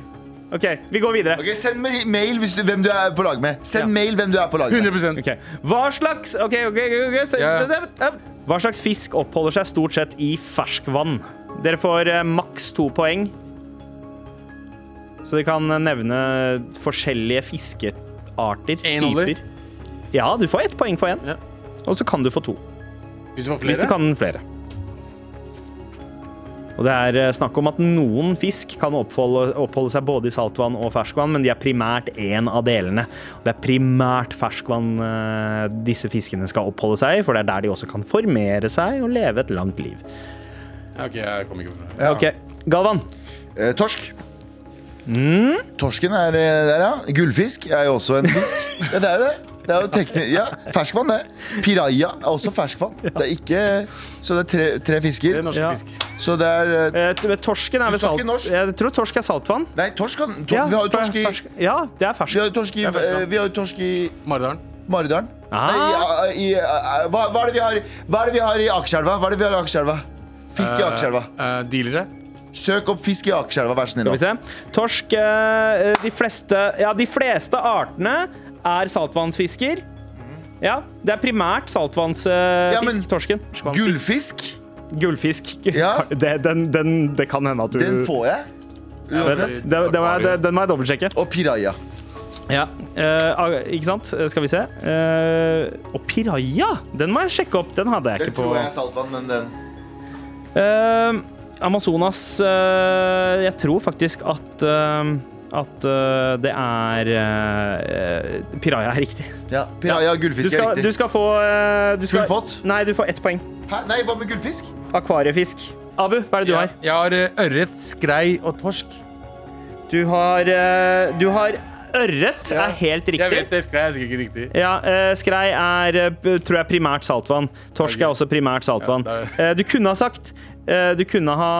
tape.
sier.
Ok, vi går videre.
Ok, Send meg mail hvis du, hvem du er på lag med. Send
Ja.
mail hvem du er på lag med.
100
Ok, Hva slags Ok, ok, ok, ok, se-
Ja.
det- det- det- Hva slags fisk oppholder seg stort sett i ferskvann? Dere får eh, maks to poeng. Så de kan eh, nevne forskjellige fiskearter.
En holder.
typer. Ja, du får ett poeng for én.
Ja.
Og så kan du få to.
Hvis du får
Hvis du
flere?
kan flere. Og det er eh, snakk om at noen fisk kan oppholde, oppholde seg både i saltvann og ferskvann, men de er primært én av delene. Det er primært ferskvann eh, disse fiskene skal oppholde seg i, for det er der de også kan formere seg og leve et langt liv.
Ok, jeg kommer ikke fra
Ja.
Ok, Galvan.
Eh, torsk. Torsken er eh, der, ja. Gullfisk er jo også en fisk. Ja, det er jo det. Det er jo tekni- ja, ferskvann, det. Piraja er også ferskvann. Det er ikke Så det er tre, tre
Det
fisker.
er norsk
Ja.
fisk.
Så det er eh,
Eh, t- Torsken er
Du
vel
sa
salt...
ikke norsk.
Jeg tror torsk er saltvann.
Nei, torsk kan tor, Vi har jo
fer-
torsk i
fersk- Ja, det er
Vi
fersk.
har jo torsk i,
er ferskvann.
eh, vi har jo torsk i
Maridalen.
Maridalen.
Ah.
Nei, i, i, eh, hva, hva er det vi har Hva er det vi har i Akerselva? Hva er det vi har i Akerselva? Fisk i Akerselva.
Eh, eh, dealere.
Søk opp fisk i Akerselva, vær så snill.
Skal
nå.
vi se. Torsk eh, de fleste, Ja, de fleste artene er saltvannsfisker. Ja, det er primært saltvannsfisk,
Ja,
ja,
men
torsken. Saltvannsfisk.
Gullfisk,
Gullfisk.
Ja.
Det, den, den, det kan hende at du
den får jeg.
det,
Uansett.
det, det må jeg- det, Den må jeg dobbeltsjekke.
Og piraja.
Ja. eh, ah, ikke sant? Eh, Skal vi se. Eh, og piraja! Den må jeg sjekke opp. Den hadde jeg
Den
ikke på.
tror jeg er saltvann, men den
Eh, Amazonas eh, Jeg tror faktisk at eh, at eh, det er eh, eh, Piraja er riktig.
Ja, Piraja og
Du
gullfisk er
skal, du
riktig.
skal få eh, du skal,
Full pott?
Nei, du får ett poeng.
Hæ? Nei, hva med gullfisk?
Akvariefisk. Abu, hva er det du har?
Jeg har eh, ørret, skrei og torsk.
Du har, eh, du har ørret,
Ja.
er helt
Jeg vet
riktig.
det. Skrei er sikkert ikke riktig.
Ja, eh, Skrei er eh, p- tror jeg primært saltvann. Torsk er også primært saltvann.
Ja, det
Eh, Du kunne ha sagt eh, Du kunne ha,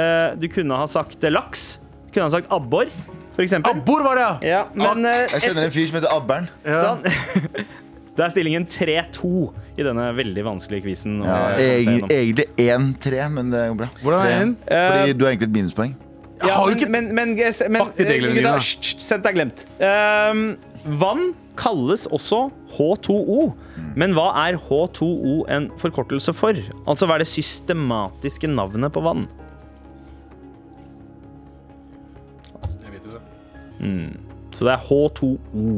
eh, du kunne ha sagt eh, laks. Du kunne ha sagt abbor, for eksempel.
Abbor var det, ja!
Ja, men eh,
Jeg kjenner en fyr som heter Abbern.
ja.
det er stillingen 3-2 i denne veldig vanskelige quizen. eh, å
Ja,
komme seg
egen-
gjennom.
egentlig 1-3, men det går bra.
Eh,
Hvordan er den?
Fordi du har egentlig et minuspoeng.
Jeg
Ja,
har jo
men,
ikke
men, men, eh, men
Fuck de reglene
gutta,
dine, da.
hysj, hysj, Sent er glemt. Ehm, vann kalles også H2O. Men hva er H2O en forkortelse for? Altså hva er det systematiske navnet på vann? Mm. Så det er H2O.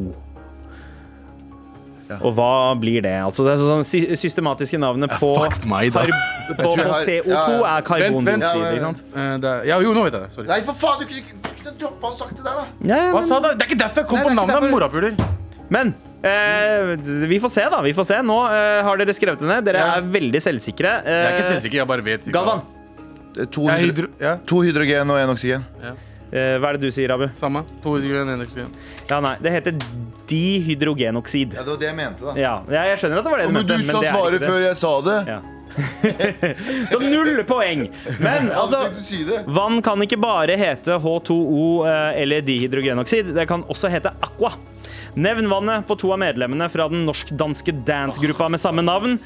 Og hva blir det? Altså det er sånn sy- systematiske navnet på,
fuck meg, da.
karb- på,
tror jeg
på
har-
CO2
ja, ja.
er karbondioksid,
vent.
ikke sant?
Eh, det er, ja, jo, nå vet jeg det. Sorry.
Nei, for faen, du kunne ikke- du kunne droppa og sagt det der, da.
Ja, ja,
Hva
men-
sa du? Det er ikke derfor jeg kom på navnet. Morapuler.
Men eh, vi får se, da. Vi får se. Nå eh, har dere skrevet det ned. Dere
Ja.
er veldig selvsikre. Eh,
Jeg er ikke selvsikker, jeg bare vet. ikke.
Galvan,
To,
Jeg er
hydro
hydro... Ja,
to hydrogen og én oksygen.
eh, hva er det du sier, Abu?
samme. To hydrogen, en oksygen.
Ja, nei, det heter dihydrogenoksid.
Ja, Det var det jeg mente, da.
Ja, jeg jeg skjønner at det var det du
Men
mente.
du sa
det er
svaret
ikke
før
det.
jeg sa det.
Ja. Så null poeng. Men altså
du si det?
Vann kan ikke bare hete H2O eh, eller dihydrogenoksid, det kan også hete aqua. Nevn vannet på to av medlemmene fra den norsk-danske dancegruppa med samme navn.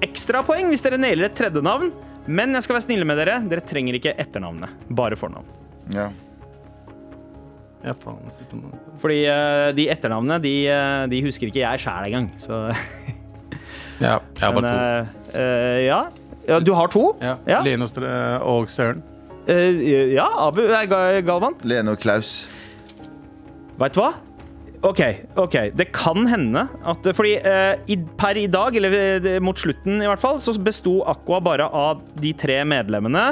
Ekstrapoeng hvis dere nailer et tredje navn, men jeg skal være snille med dere. Dere trenger ikke etternavnet, bare fornavn.
Ja.
Ja, faen. Siste navn.
Fordi eh, de etternavnene, de, eh, de husker ikke jeg sjæl engang, så
Ja, jeg har
Men
bare to.
eh, eh, ja. ja. Du har to?
eh, Ja.
Ja,
Lene og, Stre og Søren.
Eh, ja Abu Nei, Ga- Galvan.
Lene og Klaus.
Veit du hva? OK, ok, det kan hende at Fordi eh, i, per i dag, eller eh, mot slutten i hvert fall, så besto Aqua bare av de tre medlemmene.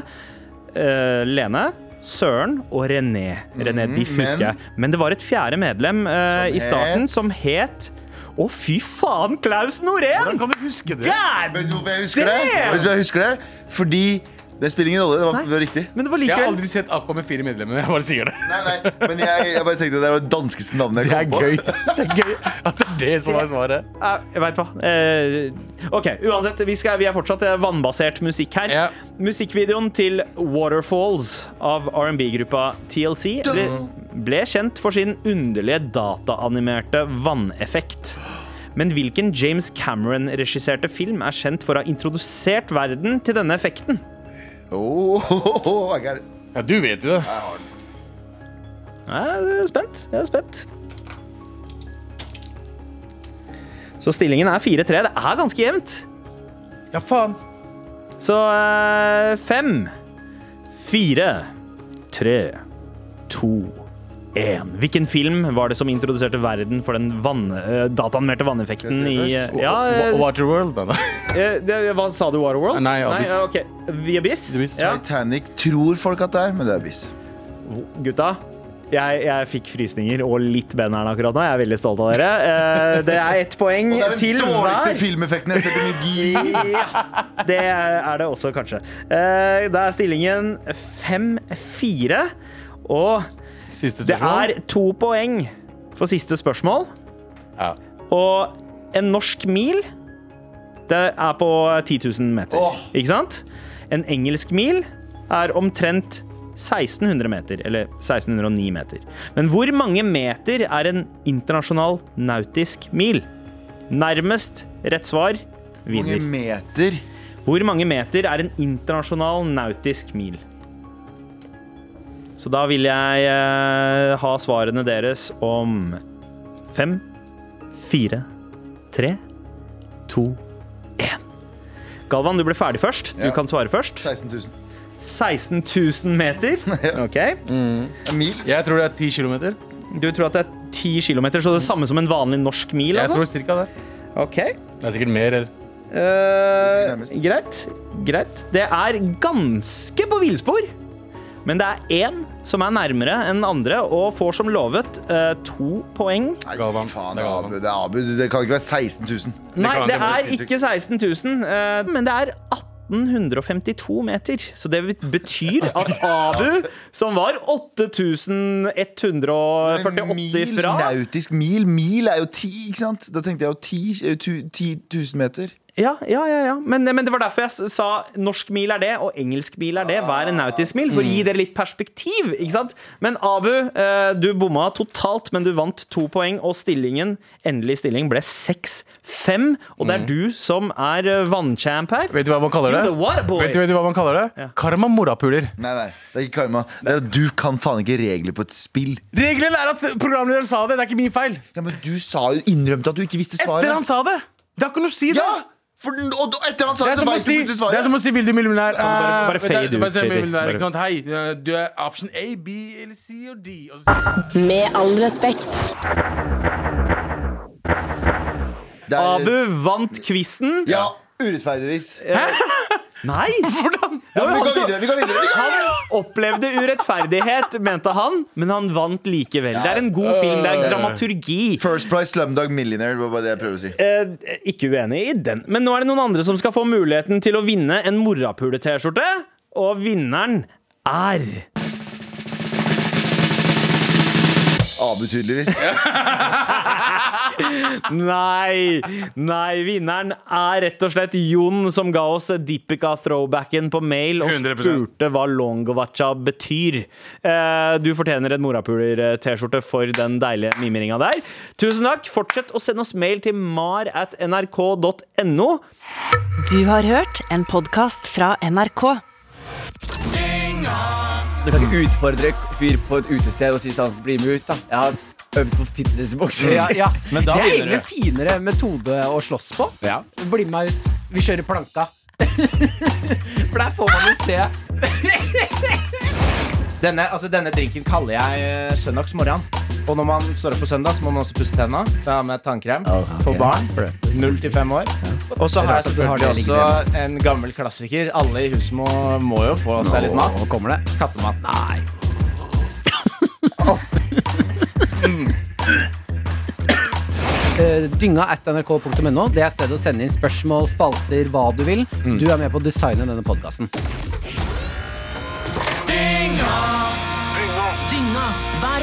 eh, Lene, Søren og René. René de
Mhm, men-
husker jeg. Men det var et fjerde medlem eh,
Som
i starten
het-
som het Å, fy faen, Klaus Norén!
kan du huske det?
God
Vet du hvorfor jeg husker det?
damn!
Vet du hvorfor jeg husker det? Fordi det spiller ingen rolle. Det var, det var riktig.
Men det var
Jeg har
likevel
aldri sett Aqua med fire medlemmer. Jeg bare sier det.
Nei, nei, men jeg, jeg bare tenkte det er det danskeste navnet
Det
jeg
er
kom på.
gøy. Det er gøy at det er det som er svaret.
Eh, Jeg vet hva. Eh, ok, uansett. Vi, skal, vi er fortsatt eh, vannbasert musikk her.
Ja.
Musikkvideoen til Waterfalls av R&B-gruppa TLC ble, ble kjent for sin underlige dataanimerte vanneffekt. Men hvilken James Cameron-regisserte film er kjent for å ha introdusert verden til denne effekten?
Oh, I got it.
Ja, du vet jo det.
Jeg er spent. Jeg er spent. Så stillingen er 4-3. Det er ganske jevnt.
Ja, faen.
Så eh, fem, fire, tre, to, én. Hvilken film var det som introduserte verden for den vann, eh, dataanimerte vanneffekten
Skal
i
jeg si
eh,
først?
Ja, eh,
Wa- Waterworld, da. da.
eh, det, hva sa du, Waterworld?
Nei, Abyss.
eh, ok. The Abyss?
The Abyss.
Ja.
Titanic tror folk at det er, men det er biss.
Gutta, jeg, jeg fikk frysninger og litt benneren akkurat nå. Jeg er veldig stolt av dere. Eh, det er ett poeng
Det er den
til
dårligste
hver.
filmeffekten jeg har sett i mitt liv.
Ja, det er det også, kanskje. Eh, Da er stillingen 5-4. Og
Siste
det
spørsmål.
er to poeng for siste spørsmål.
Ja.
Og en norsk mil, det er på 10 000 meter.
Åh.
Ikke sant? En engelsk mil er omtrent 1600 meter, eller 1609 meter. Men hvor mange meter er en internasjonal nautisk mil? Nærmest rett svar
Hvor mange
vinner.
meter?
Hvor mange meter er en internasjonal nautisk mil? Så da vil jeg eh, ha svarene deres om fem, fire, tre, to, én. Galvan, du ble ferdig først. Du
Ja.
kan svare først.
16 000.
16 000 meter. Ok.
En mil?
Jeg tror det er ti kilometer.
Du tror at det er 10 km, så det er samme som en vanlig norsk mil?
Jeg
Altså?
tror cirka det.
Ok.
Det er sikkert mer. eller?
Eh,
nærmest.
greit. Greit. Det er ganske på villspor. Men det er én som er nærmere enn andre og får som lovet eh, to poeng.
Nei,
Galvan.
faen, det
Det er
er
Galvan.
Abu. Det, er Abu. det kan ikke være 16 000.
Nei,
kan
det
være
er
helt
ikke 16 000, eh, men det er 1852 meter. Så det betyr at Abu, som var 8148
mil,
fra
eh, nautisk mil. Mil er jo 10, ikke sant? Da tenkte jeg jo 10 000 meter.
Ja, ja, ja, ja. Men, men det var derfor jeg s- sa norsk mil er det, og engelsk mil er det. Hva er en nautisk mil? For å
Mm.
gi dere litt perspektiv. ikke sant? Men Abu, eh, du bomma totalt, men du vant to poeng. Og stillingen, endelig stilling, ble 6-5. Og det er du som er eh, vannchamp her.
Mm. Vet du hva man kaller det?
You're the water boy.
Vet du, vet du hva man kaller det? Karma morapuler.
Nei, nei, det er ikke karma. Det er, at du kan faen ikke regler på et spill.
Regelen er at programlederen sa det, det er ikke min feil.
Ja, Men du sa jo innrømte at du ikke visste svaret.
Etter han sa det. Det har ikke noe å si, det.
Ja! For, og etter han sa det, så
Det er, som å
veit du
si,
plutselig
det er
svaret.
som å si 'vil du bli millionær'?
bare- bare
Eh, det er-
fade ut,
bare si, vil
JD.
du bli millionær,
Bare-
ikke sant? Hei, eh, du er option A, B eller C og D. Og så,
Med all respekt.
Det er-
Abu vant quizen.
Ja, urettferdigvis.
Nei!
hvordan?
Det var jo
vi
han
går
som-
videre. vi går videre, vi går videre.
Han opplevde urettferdighet, mente han, men han vant likevel. Det er en god film. Det er dramaturgi.
First Price Slumdog Millionaire, det var bare det jeg prøvde å si.
Eh, ikke uenig i den. Men nå er det noen andre som skal få muligheten til å vinne en morapule-T-skjorte. Og vinneren er
Abu, tydeligvis.
Nei! Nei, vinneren er rett og slett Jon, som ga oss Deepika-throwbacken på mail og
100%.
spurte hva longovacha betyr. Eh, Du fortjener en morapuler-T-skjorte for den deilige mimringa der. Tusen takk. Fortsett å sende oss mail til mar at nrk.no.
Du har hørt en podkast fra NRK.
Du kan ikke utfordre en fyr på et utested og si sånn Bli med ut, da. Jeg har øvd på fitnessbokser.
Ja, ja.
Men da
det er egentlig
begynner
en finere metode å slåss på.
Ja.
Bli med meg ut. Vi kjører planka. For der får man jo se.
Denne, altså, denne drinken kaller jeg eh, søndagsmorgen. Og når man står opp på søndag, så må man også pusse tenna. Da med tannkrem på barn. Null til fem år. Og så har jeg selvfølgelig også en gammel klassiker. Alle i huset må, må jo få seg litt mat.
Nå kommer det.
Kattemat. Nei.
Eh, dynga at nrk.no. Det er stedet å sende inn spørsmål, spalter, hva du vil. Du er med på å designe denne podkasten.
Dynga hver